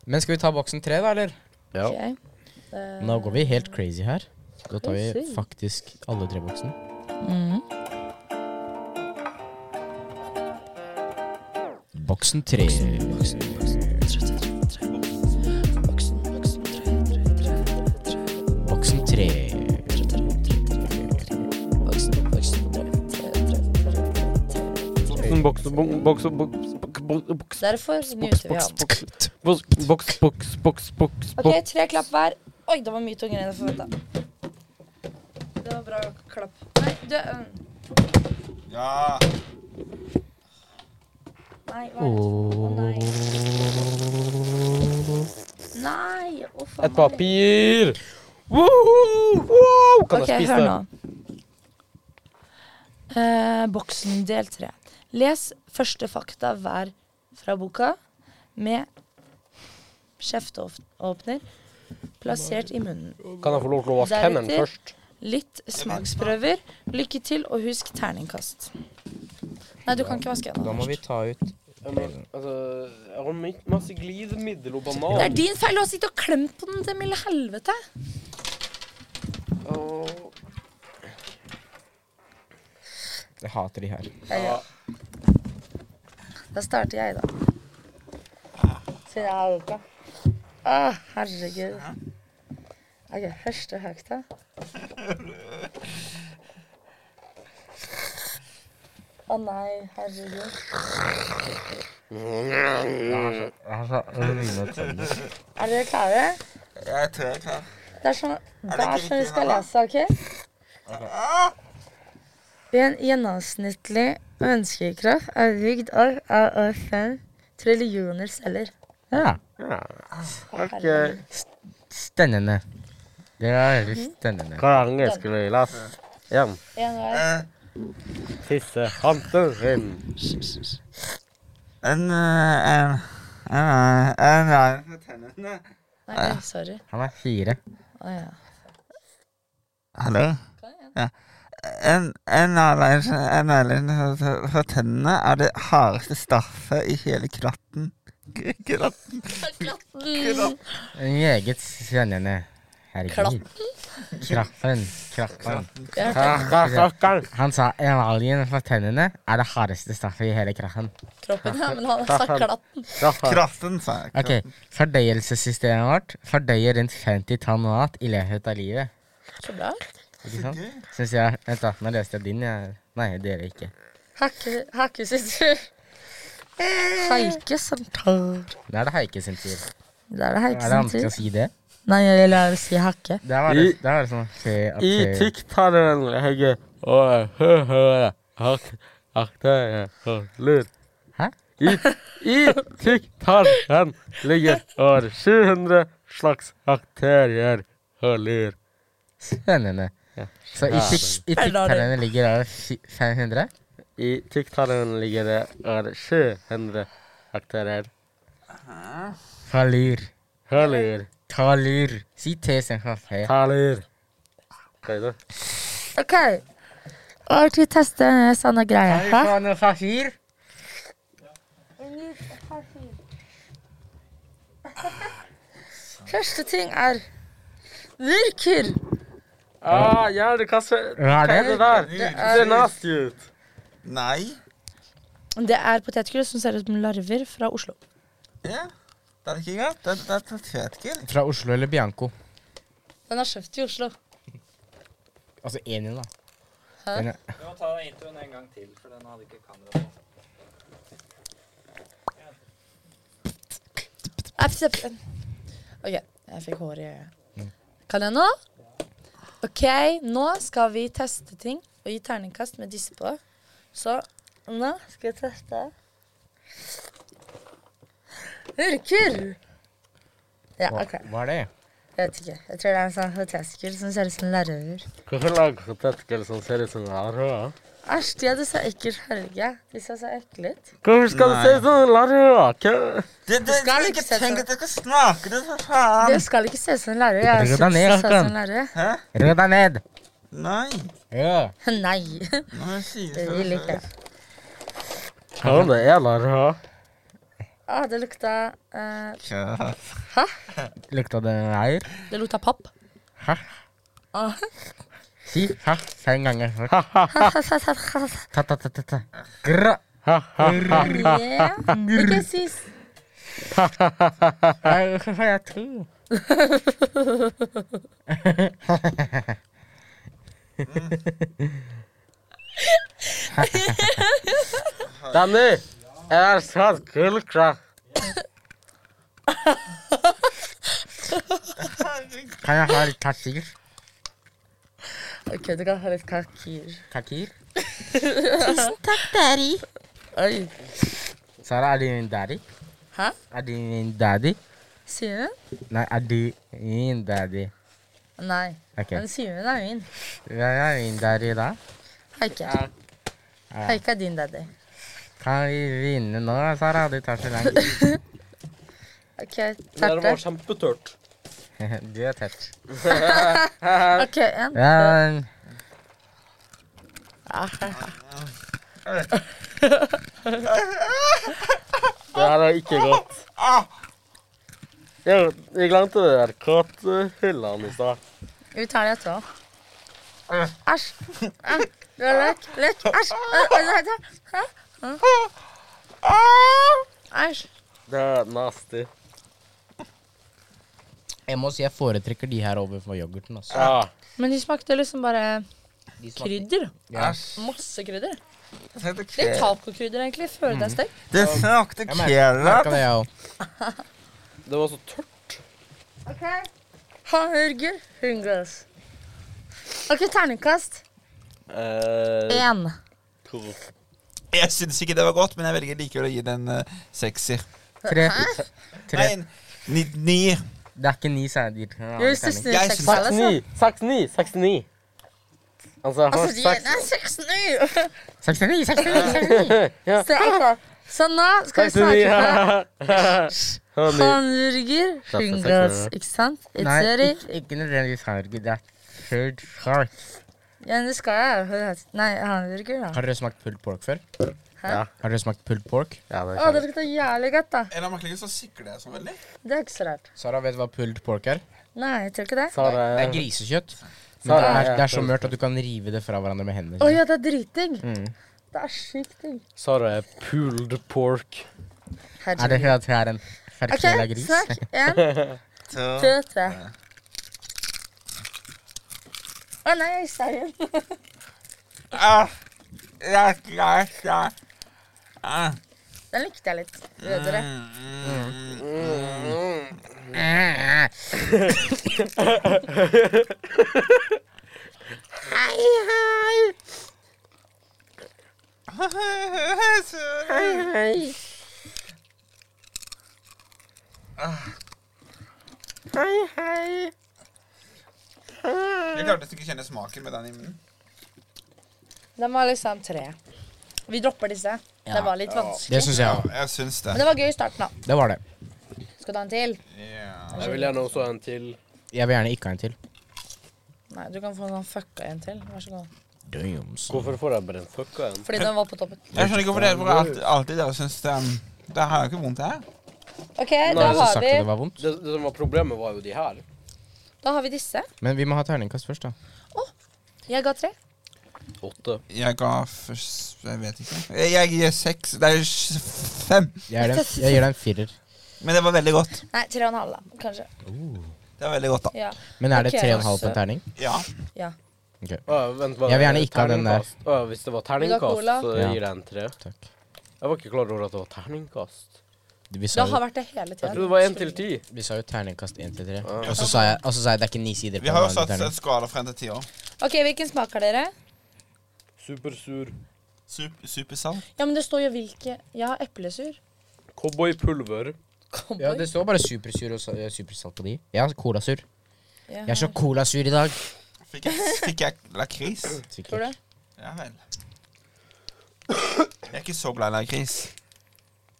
Men skal vi ta boksen tre, da, eller? ja. Ok. Eh, Nå går vi helt crazy her. Da tar vi Crazy. faktisk alle tre boksene. Mm. mhm. Boksen tre. Boksen tre. Sånn Boks, boks, boks, boks, Derfor muter vi han. boks, boks, boks, boks, Ok, tre klapp hver. Oi, det var mye tungere enn jeg forventa. Det var bra klapp. Nei, du øh, Ja! Nei, hva er det? Å, nei. Nei, å faen. Et papir! Woohoo! Wow! Ok, Kan jeg spise hør det? nå. Eh, boksen del tre. Les første fakta hver fra boka med kjefteåpner plassert i munnen. Kan jeg få lov til å vaske hendene Deretter- først? Litt smaksprøver. Lykke til, og husk terningkast. Nei, du kan ikke vaske Da må hendene. vi ta ut Ja, men, altså, jeg har mi- masse glidemiddel og Det er banan. din feil! Du har sittet og klemt på den til milde helvete. Åh. Jeg hater de her. Ja. Da starter jeg, da. Siden jeg har boka. Å, herregud. OK, første fakta. Å nei, herregud. Er dere klare? Jeg tror jeg klarer Det er sånn, det er sånn vi riktig, skal Hanna? lese, OK? Ved en gjennomsnittlig menneskekropp er bygd opp av over fem trillioner celler. Ja. Okay. Stennende. Det er veldig stennende. Kranger skulle vi lasse. Hjem. En hver. Tisse hansen sin. En eh, En En En En med tennene. Nei, nei, sorry. Han er fire. Å ja. Hallo? Ja. En, en airline en airline for- for- for tennene er det hardeste stoffet i hele klatten. K- Klatten Mm. En Meget spennende. Herregud. Kraffen. Kraffen. Han sa emaljen fra tennene er det hardeste straffet i hele kraffen. Kroppen, ja, men han sa klatt. Kratten, sa jeg. Ok, Fordøyelsessystemet vårt fordøyer rundt 50 tonn mat i løpet av livet. Så bra. Ikke sant? Synes jeg, Vent, da. Nå leste jeg din. Jeg. Nei, dere ikke. Hakke, hakke sin tur. Haike som tar. Da er det Heike sin tur. Da er det Er haike det sin vanskelig å tur. si det? Nei, jeg vil lære å si hakke. Der var det, der var det sånn at se at I se- tiktallen legger Åh, hø, hø, hak- akte, hø, lyd. Hæ? I, i tiktallen ligger over 700 slags bakterier og lur. Spennende. Ja. Så i, tik- i tikktallene ligger det 500? I tiktallen ligger det over 700 bakterier Talur. og lur. Talur. Si T som kaffe. Ta lur. Prøvde. OK. Og vi tester sånne Kan greier. vi Hæ? få noe safir? Første ting er Virker. Ah, ja, du kan se Hva er det? der? Det er nasty ut. Nei. Det er potetgull som ser ut som larver fra Oslo. Ja. Det er ikke godt. Det, det er potetgull. Fra Oslo eller Bianco? Den er kjøpt i Oslo. Altså én igjen, da. Du må ta introen en gang til, for den hadde ikke kamera på. OK, jeg fikk hår i øyet. Mm. Kan jeg nå? OK, nå skal vi teste ting og gi terningkast med disse på. Så nå skal jeg teste. Virker! Ja, Hva, OK. hva er det? Jeg vet ikke. Jeg tror det er en sånn potetgull som ser ut som larver. Hvorfor lager potetgull som ser ut som larver? Æsj, de hadde så ekkel farge. Disse så ekle ut. Hvorfor skal det se ut som larver? Hva- Det, det, skal ikke ikke se tenk sånn. at det skal smake det, for faen. Det skal ikke se ut som en larve. Jeg har Rydda sett Ah. ned, det Håkan. som en larve. Hæ? Rå deg ned! Nei. Ja. Nei, Nå sier det vil ikke jeg. Hva om det er larver? Å, Ah, det lukta eh, Kjøtt. Lukta det her? Det lukta papp. Hæ? Ah. Si hæ fem ganger. Yeah. Ta-ta-ta-ta. Grå. Ikke sist. Nei, Hvorfor får jeg to? Danny, jeg har satt gullkraft. Kan jeg ha litt takir? OK, du kan ha litt kakir. Takir? Oi. Sara, er du min daddy? Hæ? Er du min daddy? Simen? Nei, er du min daddy? Nei. Ok. Men Simen er min. Hvem er min daddy da? Haike. Haike er din daddy. Kan vi vinne nå, Sara? Du tar så lang tid. OK, Det terte. var kjempetørt. Du er tett. OK, en. Ja, men Det her er ikke godt. Jeg, jeg glemte det der katthyllene i stad. Vi tar det etterpå. Æsj. Æ, Det var løk. Løk. Æsj. Æ, æ, æ, æ, æ. Æ. Æsj. Det er nasty. jeg må si jeg foretrekker de her overfor yoghurten. Altså. Ja. Men de smakte liksom bare De smaker- krydder. Æsj. Masse krydder. Det smakte Litt ke- tacokrydder, egentlig, før det er stekt. Det smakte Jeg mer- merker kebab. det, jeg òg. Det var så tørt. Hamburger. Hungers. OK, terningkast. Eh, Én. to. Jeg syns ikke det var godt, men jeg velger likevel å gi den en eh, sekser. Tre. Tre. Nei, ni, nier. Det er ikke ni seier. Jeg syns det er Jeg seks synes- alle, altså. 69. 69. 69. Altså, jeg har Altså, de seks er seks nå! 69, 69, 69. Ja. Så, ok. Så nå skal vi 69. snakke om Honey. Hamburger, Kaffe, Pringles, seks ikke sant? Nei, Itzeri. ikke, ikke nødvendigvis hamburger. Det er third shark. Ja, det skal jeg. hva det heter. Nei, hamburger, da. Har dere smakt pulled pork før? Hæ? Ja. Har dere smakt pulled pork? Ja, det Å, er det lukter jævlig godt, da. En av merkelingene så sikler jeg så veldig. Det er ikke så rart. Sara, vet du hva pulled pork er? Nei, jeg tror ikke det. Sara, Det er grisekjøtt. Men det Sara, er, ja. det er så mørt at du kan rive det fra hverandre med hendene. Å ja, det er dritdigg. Mm. Det er sykt digg. Sara er pulled pork. Er det Herregud. fordi at jeg er en OK, ferkvela gris? snakk. Én, to, Så tre. Å nei, jeg sa igjen. ah, Ja, ja, ja. Ah, Den likte jeg litt. Rødere. Jeg klarte ikke å kjenne smaken med den i munnen. Den var liksom tre. Vi dropper disse. Det var litt vanskelig. Det syns jeg òg. Jeg syns Men det. det var gøy i starten, da. Det var det. Skal du ha en til? Ja. Jeg vil gjerne også ha en til. Jeg vil gjerne ikke ha en til. Nei, du kan få en sånn fucka en til. Vær så god. Damn, son. Hvorfor får jeg bare den fucka en? Fordi den var på toppen. Jeg skjønner ikke hvorfor dere hvorfor alltid, alltid dere syns det, um, det her er jo ikke vondt, det her. OK, Det da var så har, sagt vi, at det var vondt. Det, det som var problemet, var jo de her. da har vi disse. Men vi må ha terningkast først, da. Jeg ga tre. Åtte. Jeg ga først Jeg vet ikke. Jeg, jeg gir seks Det er sj- fem. Jeg, er den, jeg gir deg en firer. Men det var veldig godt. Nei, tre og en halv, da. Kanskje. Det var veldig godt, da. Ja. Men er det Ok, tre og en halv på altså. en terning? Ja. Å, vent, hva- Jeg vil gjerne ikke ha den der. terningkast. Å, hvis det var terningkast, cola. så Ja. gir jeg en tre. Takk. Jeg var ikke klar over at det var terningkast. Vi Det sa har jo, vært det hele Jeg tida. trodde det var én til ti. vi sa jo terningkast én til tre. Ah. Og så sa jeg, og så sa jeg det er ikke ni sider. på Vi har jo en satt terning. en skala fra en til ti år. OK, hvilken smak har dere? Supersur. Sup- Supersalt. Ja, men det står jo hvilke. Jeg har eplesur. Cowboypulver. Ja, Cowboy. det står bare supersur og sa- eh, supersalt på de. Jeg har colasur. Jeg Jeg er så har- colasur i dag. Fikk jeg, fikk jeg lakris? Tror du det? Ja vel. Jeg er ikke så glad i lakris.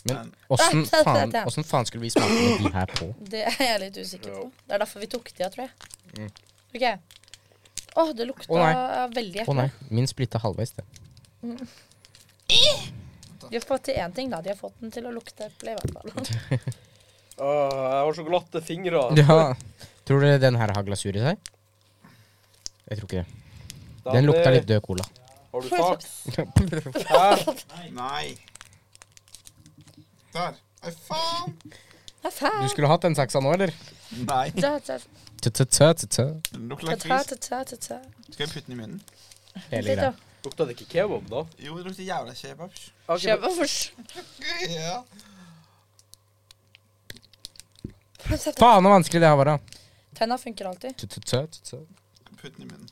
Men åssen Nei, faen, det er det. åssen faen skulle vi smake med de her på? Det er jeg litt usikker på. Det er derfor vi tok de av, tror jeg. Mm. OK. Å, det lukta Å, nei. veldig Å eple. nei, min splitta halvveis, det. de har fått til én ting, da. De har fått den til å lukte eple, i hvert fall. Åh, jeg har så glatte fingre. Ja. Tror dere den her har glasur i seg? Jeg tror ikke det. Den lukta litt død cola. Har du saks? Nei. Der. Nei, faen. Det er faen. Du skulle hatt den saksa nå, eller? Nei. Ta, ta, Tø-tø-tø-tø. Den lukter ta, ta, lakris. ta, ta, ta, ta. Skal jeg putte den i munnen? Hele Litt, da. greia. Lukta det ikke kebab, da? Jo, det lukter jævla kebab. Kjøp og fors- Ja. Faen så vanskelig det her var, da. Tenna funker alltid. Tø-tø-tø-tø. Putt den i munnen.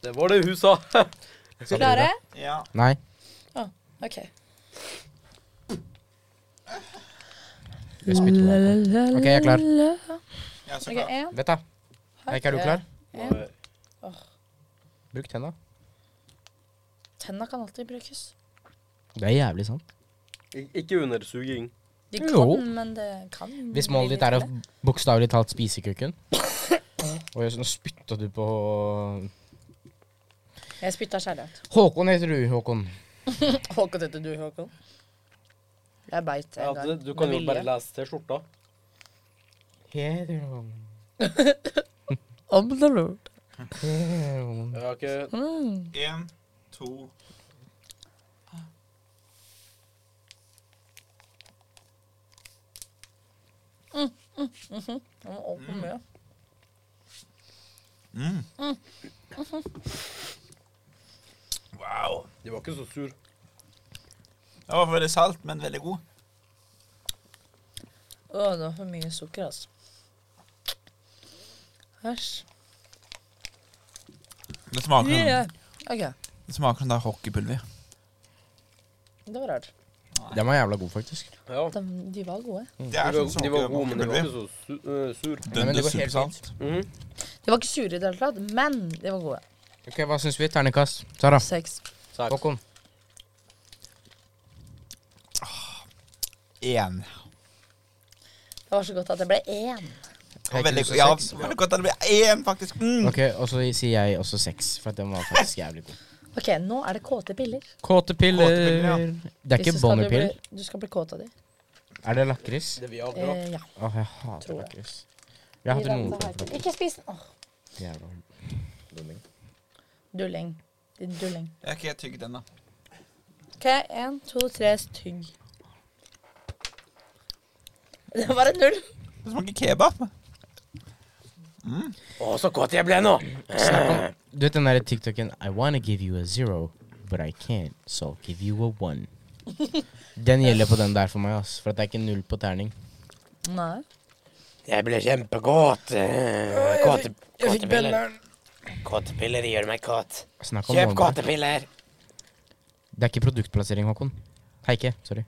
Det var det hun sa. Sa du Klare? det? Ja. Nei. OK. Jeg spytter på deg. OK, jeg er klar. Jeg er så Ok, glad. en. Vet da. Eik, er du klar? En. Bruk tenna. Tenna kan alltid brukes. Det er jævlig sant. Ik- Ikke under suging. De kan, Jo. men det kan Hvis målet ditt er å bokstavelig talt spise kukken Oi, så nå spytta du på Jeg spytta kjærlighet. Håkon heter du, Håkon. Håkon heter du, Håkon. Jeg beit Ja, en gang. det- du kan jo med bare vilje. lese T-skjorta. Heter Håkon. Om the road. Heter Håkon. Jeg har ikke Mm. En, to Den var åpen mye. mm. Wow. De var ikke så sur. Det var veldig salt, men veldig god. Å, det var for mye sukker, altså. Æsj. Det smaker, Yeah. OK, det smaker som det er hockeypulver. det var rart. Den var jævla god, faktisk. Ja. De, de var gode. Det De er var, som sånn sånn smaker de var gode, men de var hockeypulver. ikke så su eh, sur. Ja, men det går Dønde helt supersalt. Mhm. De var ikke sure i det hele tatt, men de var gode. Ok, Hva syns vi? Ternekast. Sara. Seks. Saks. Håkon. Én. Det var så godt at det ble én. Jeg Veldig, syns ja, seks. veldig godt at det blir én, faktisk. Mm. Ok, Og så sier jeg også seks, for at den var faktisk jævlig god. OK, nå er det kåte piller. Kåte piller. Kåte piller, ja. Det er ikke Hvis du skal bli- bonnepiller. Du skal bli kåt av de. Er det lakris? Det er Viagra. Eh, ja. Åh, jeg hater Tror jeg. lakris. Jeg hater noen form for Ikke spis den. Åh, lakris. Jævla dumming. Dulling. Din dulling. Jeg har ikke tygd den, da. OK, én, to, tre, tygg. Det var en null. Det smaker kebab. Eh. Å, så godt jeg ble nå! Snakk om, Eh, Du vet den derre TikToken I wanna give you a zero, but I can't, so I'll give you a one. Den gjelder på den der for meg, ass. For at det er ikke null på terning. Nei. Jeg ble kjempekåt. Eh, Kåte Jeg fikk kåtepiller. Kåtepiller gjør meg kåt. Snakk om Kjøp måneder. kåtepiller. Det er ikke produktplassering, Håkon. Heike. Sorry.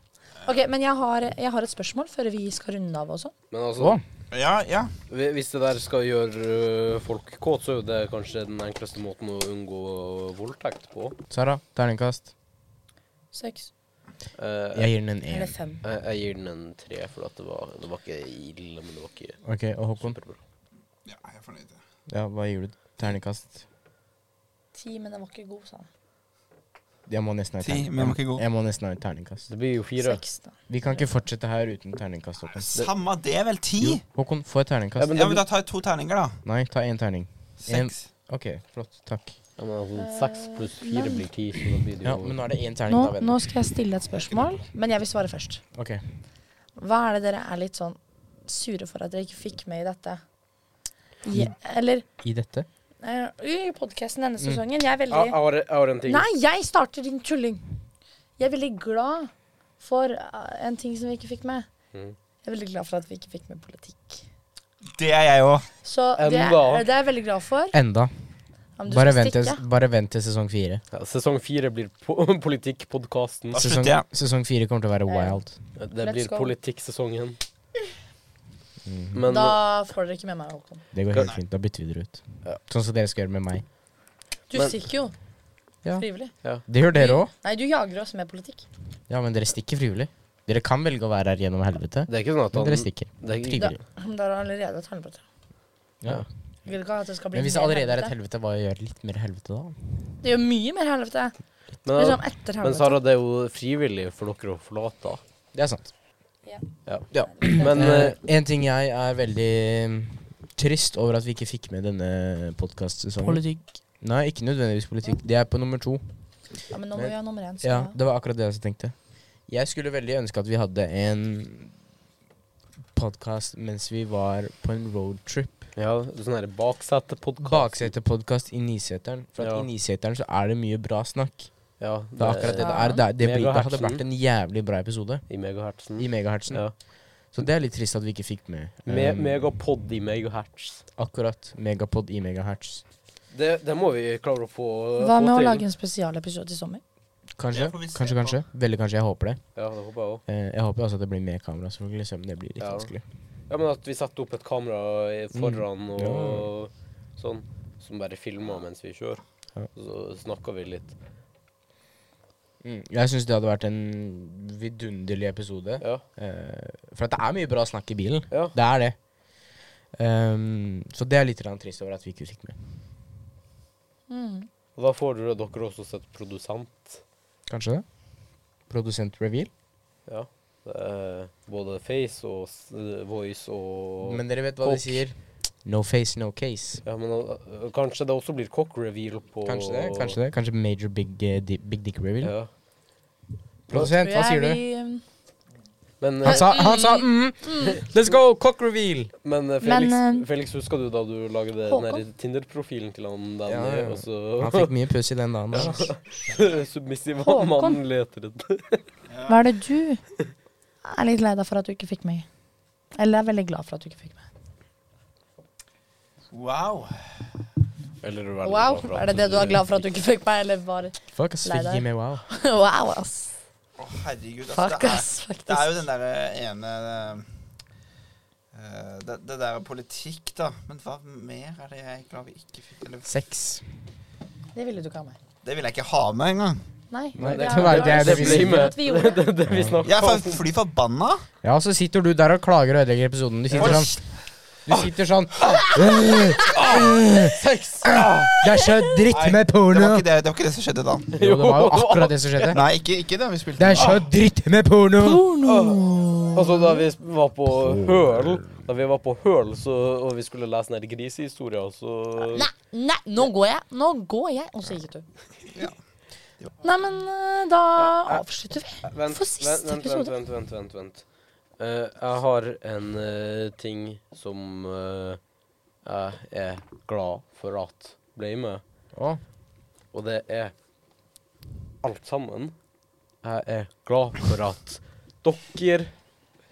Ok, Men jeg har, jeg har et spørsmål før vi skal runde av også. Men altså, Å, Ja, ja. hvi- hvis det der skal gjøre øh, folk kåt, så er jo det kanskje den enkleste måten å unngå voldtekt på. Sara. Terningkast. Seks. Eh, Jeg gir den en Eller én. fem. jeg, jeg gir den en tre, for at det, var, det var ikke ille, men det var ikke Ok, og Håkon? superbra. ja jeg er fornøyd. Ja, hva gir du? Terningkast. Ti, men den var ikke god, sa han. Jeg må nesten ha et Ti, men den var ikke god. Jeg må nesten ha et terningkast. Det blir jo fire. Seks, da. Vi kan ikke fortsette her uten terningkast, Håkon. Samme det, er vel ti? Jo, Håkon, få et Ja, terningkast. men Ja, det men blir, Da tar jeg to terninger, da. Nei, ta én terning. En- Seks. Ok, flott. Takk. ja, men altså, seks pluss fire blir ti, så da blir det Ja, jo men nå er det én terning, Nå, da, venn. nå skal jeg stille et spørsmål, men jeg vil svare først. Ok. Hva er det dere er litt sånn sure for at dere ikke fikk med i dette? Je, eller I dette? eh, i podkasten denne Mm. sesongen. Jeg er Jeg jeg veldig har, jeg har en ting. Nei, jeg starter din tulling! Jeg er veldig glad for eh, en ting som vi ikke fikk med. Mm. Jeg er veldig glad for at vi ikke fikk med politikk. Det er jeg òg. Så det, Enda. det er jeg veldig glad for. Enda. Ja, men du Bare skal vent, til, stikke. bare vent til sesong fire. Ja, sesong fire blir po politikkpodkasten. Da Sesong, slutter jeg. sesong fire kommer til å være Ja, ja. wild. Det Let's blir go. politikksesongen. Mhm. Men eh, Da får dere ikke med meg, Håkon. Det går Kan- helt fint. Da bytter vi dere ut. Ja. Sånn som dere skal gjøre med meg. Du Men- stikker jo. Ja. Frivillig. Det gjør dere òg. Nei, du jager oss med politikk. Ja, men dere stikker frivillig. Dere kan velge å være her gjennom helvete, det er ikke sånn at men han dere stikker. det er, Frivillig. Men Da er det allerede et helvete. Ja. Jeg vil ikke at det skal bli Men hvis det mer allerede er et helvete. helvete, hva gjør litt mer helvete da? Det gjør mye mer helvete. men, Liksom etter men helvete. Sara, det er jo frivillig for dere å forlate. Det er sant. Men eh, Eh, en ting jeg er veldig mm, trist over at vi ikke fikk med denne podkastsesongen Politikk. Nei, ikke nødvendigvis politikk. Det er på nummer to. Ja, men nå må vi ha nummer én. Så. Ja, det var akkurat det jeg også tenkte. Jeg skulle veldig ønske at vi hadde en podkast mens vi var på en roadtrip. ja, sånn her baksetepodkast. Baksetepodkast i Niseteren. For at Ja. i Niseteren så er det mye bra snakk. Ja, Det er akkurat det det er. Det, er- det, blir, det hadde Megahertzen. vært en jævlig bra episode I megahertzen. i megahertzen. ja. Så det er litt trist at vi ikke fikk med. Me um, megapod i megahertz. akkurat. Megapod i megahertz. Det, det må vi klare å få Hva med få å til. lage en spesialepisode i sommer? Kanskje. Det får vi se Kanskje, på. kanskje. Veldig kanskje. Jeg håper det. Ja, det håper jeg òg. Eh, Jeg håper også at det blir med kamera, selvfølgelig. Selv om det blir litt Ja. vanskelig. Ja, men at vi setter opp et kamera i- foran Mm. og Ja. sånn, som bare filmer mens vi kjører. Ja. Så snakker vi litt. Mm. Jeg syns det hadde vært en vidunderlig episode. Ja. Eh, for at det er mye bra snakk i bilen. Ja. Det er det. Ehm, så det er litt grann trist over at vi ikke fikk med. Og da får dere dere også sett produsent. Kanskje det? Produsent reveal. Ja. Det er både face og s- voice og Men dere vet hva de Kokk. sier. No face, no case. Ja, men uh, kanskje det også blir cock reveal på Kanskje det. Kanskje det Kanskje major big, eh, di big dick reveal. Ja. Produsent, hva sier du? Jeg- vi- Men, Han sa, han sa mm, Let's go, cock reveal! men eh, Felix, Men, eh, Felix, husker du da du lagde den Håkon? der Tinder-profilen til han der Ja, ja, ja. nede, og Han så fikk mye puss i den dagen. der, altså. Submissive Håkon? mannen leter etter Hva er det du er litt lei deg for at du ikke fikk med? Eller er veldig glad for at du ikke fikk med? Wow. Eller du er veldig Wow, glad for at er det det du er glad for at du ikke fikk med? Eller bare Fuck, ass. Lei Fikk deg. gi meg wow. wow, ass. Å, herregud. Altså, Fuck, det, er, ass, det er jo faktisk. den derre ene eh, det, det der er politikk, da. Men hva mer er det jeg klarer vi ikke fikk eller, Sex. Det ville du ikke ha med. Det vil jeg ikke ha med engang. Nei. Nei, det det er- var- det er det det vi sier. at vi gjorde. Det er det vi Jeg er snakker om. fa- fly forbanna. Ja, så sitter du der og klager og ødelegger episoden. Du sitter sånn Du sitter sånn Det er så dritt med Det var porno! ikke det, det, var ikke det som skjedde da. Jo, det var jo akkurat det som skjedde. Nei, ikke, ikke det vi spilte. Det er så dritt med porno! Altså, da vi var på Høl, da vi var på høl så, og vi skulle lese ned grisehistorier, så Nei, nei, nå går jeg. Nå går jeg. Og så gikk du. Ja. Nei, men eh, da avslutter vi. Vent, For siste vent, vent, episode. Vent, vent, vent, vent. Eh, jeg har en eh, ting som eh, jeg er glad for at ble med. Å, Og det er alt sammen. Jeg er glad for at dere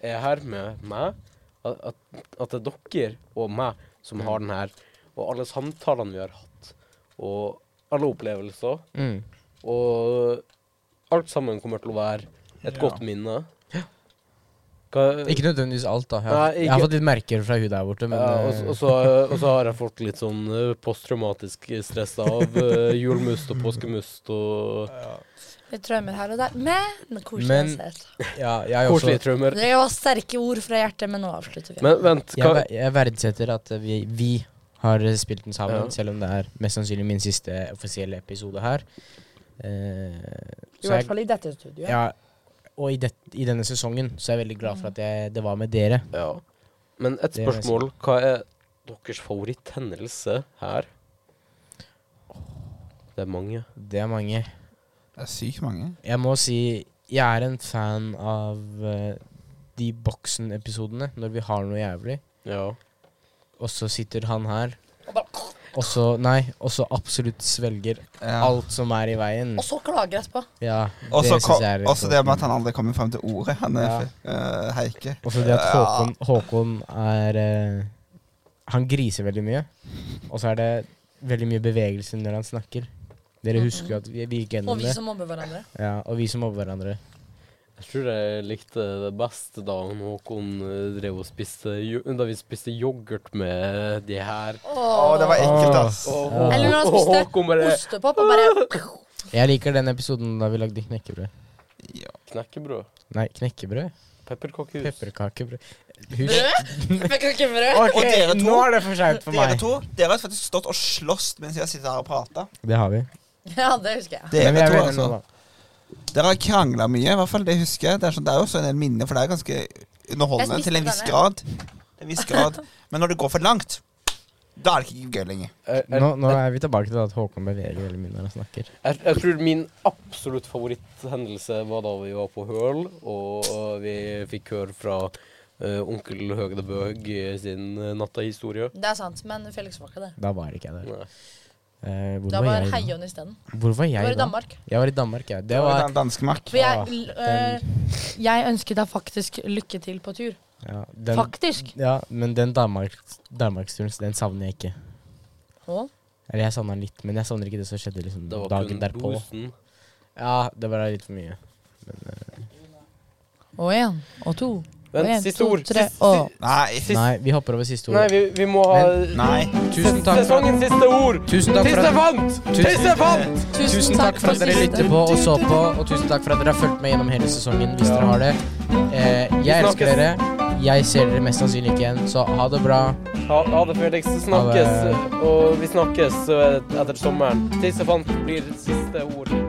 er her med meg. At, at, at det er dere og meg som har den her. Og alle samtalene vi har hatt. Og alle opplevelser. mm. Og alt sammen kommer til å være et godt minne. Hva- Ikke nødvendigvis alt, da. Jeg har, Nei, ikke- jeg har fått litt merker fra hun der borte, men Ja, og, eh, så- og, så, og så har jeg fått litt sånn eh, posttraumatisk stress av eh, julmust og påskemust og Litt traumer her og der. Men Men- koselig. uansett. ja, jeg, er også, koselige traumer. Det var sterke ord fra hjertet, men nå avslutter vi. Men vent, jeg, hva ver- jeg verdsetter at vi, vi har spilt den sammen, Ja. selv om det er mest sannsynlig min siste offisielle episode her. Eh, I så jeg hvert fall i dette studioet. Ja, og i, det, i denne sesongen så er jeg veldig glad for at jeg, det var med dere. ja. Men et Det må jeg spørsmål. Hva er deres favoritthendelse her? Det er mange. Det er mange. Det er sykt mange. Jeg må si jeg er en fan av eh, de boksen-episodene, når vi har noe jævlig. Ja. Og så sitter han her. Og så Nei, og så absolutt svelger Ja. alt som er i veien. Og så klager jeg etterpå. Ja, Og det syns jeg er liksom- så det med at han aldri kommer frem til ordet. Han er Ja. eh, Heike. Også det at Håkon, Håkon er eh, Han griser veldig mye. Og så er det veldig mye bevegelse når han snakker. Dere husker jo at vi, vi gikk Mhm. gjennom Og vi det. som mobber hverandre. Ja, og vi som mobber hverandre. Jeg tror jeg likte det best da han Håkon eh, drev og spiste jo- Da vi spiste yoghurt med de her. Å, det var ekkelt, ass. Og Ja. Eller når han spiste Håkon bare Ostepop og bare Jeg liker den episoden da vi lagde knekkebrød. Knekkebrød. Nei, knekkebrød? Pepperkakehus. Pepperkakebrød. Pepperkakebrød. Ok, Og dere to? nå er det for seint for Dere meg. to dere har faktisk stått og slåss mens jeg sitter her og prater. Det har vi. Ja, det husker jeg. Men vi Dere er to, venner altså. nå, da. Dere har krangla mye, i hvert fall det husker jeg. Det er, sånn, det er jo også en del minner, for det er ganske underholdende Jeg spiste til en viss denne. grad. En viss grad. Men når det går for langt, da er det ikke gøy lenger. Jeg, jeg, Nå, nå er vi tilbake til at Håkon beveger veldig mye når han snakker. jeg, jeg tror min absolutt favoritthendelse var da vi var på Høl, og øh, vi fikk høre fra øh, onkel Høge de Bøg eh, sin uh, nattahistorie. Det er sant, men Felix var ikke der. Da var ikke jeg der. Nei. Eh, hvor, Da var var jeg, da? Heion isteden. hvor var Du var jeg i da? Ah, Danmark. Jeg var i Danmark, ja. Det Det var var Danskemark. For jeg, øh, jeg ønsket deg faktisk lykke til på tur. ja, den, Faktisk. ja, men den Danmark, Danmarksturen, den savner jeg ikke. Å? Eller jeg savner den litt, men jeg savner ikke det som skjedde liksom, Det var dagen kun derpå. bosen. Ja, det var litt for mye. Men, eh, Og én og to. Og Vent, en, siste to, ord. tre, Siste- og Nei. nei, vi hopper over siste Nei, ord. vi, vi må ha Nei. Tusen takk for at Sesongens siste ord! Tusen takk for Tisse at fant! Tisse fant! Tusen takk for at dere siste. lytter på og så på, og tusen takk for at dere har fulgt med gjennom hele sesongen. Hvis dere har det. Eh, jeg elsker snakkes. dere. Jeg ser dere mest sannsynlig ikke igjen, så ha det bra. Ha, ha det, Felix. Snakkes. Ha eh, Og vi snakkes øh, etter sommeren. Tisse fant blir siste ord.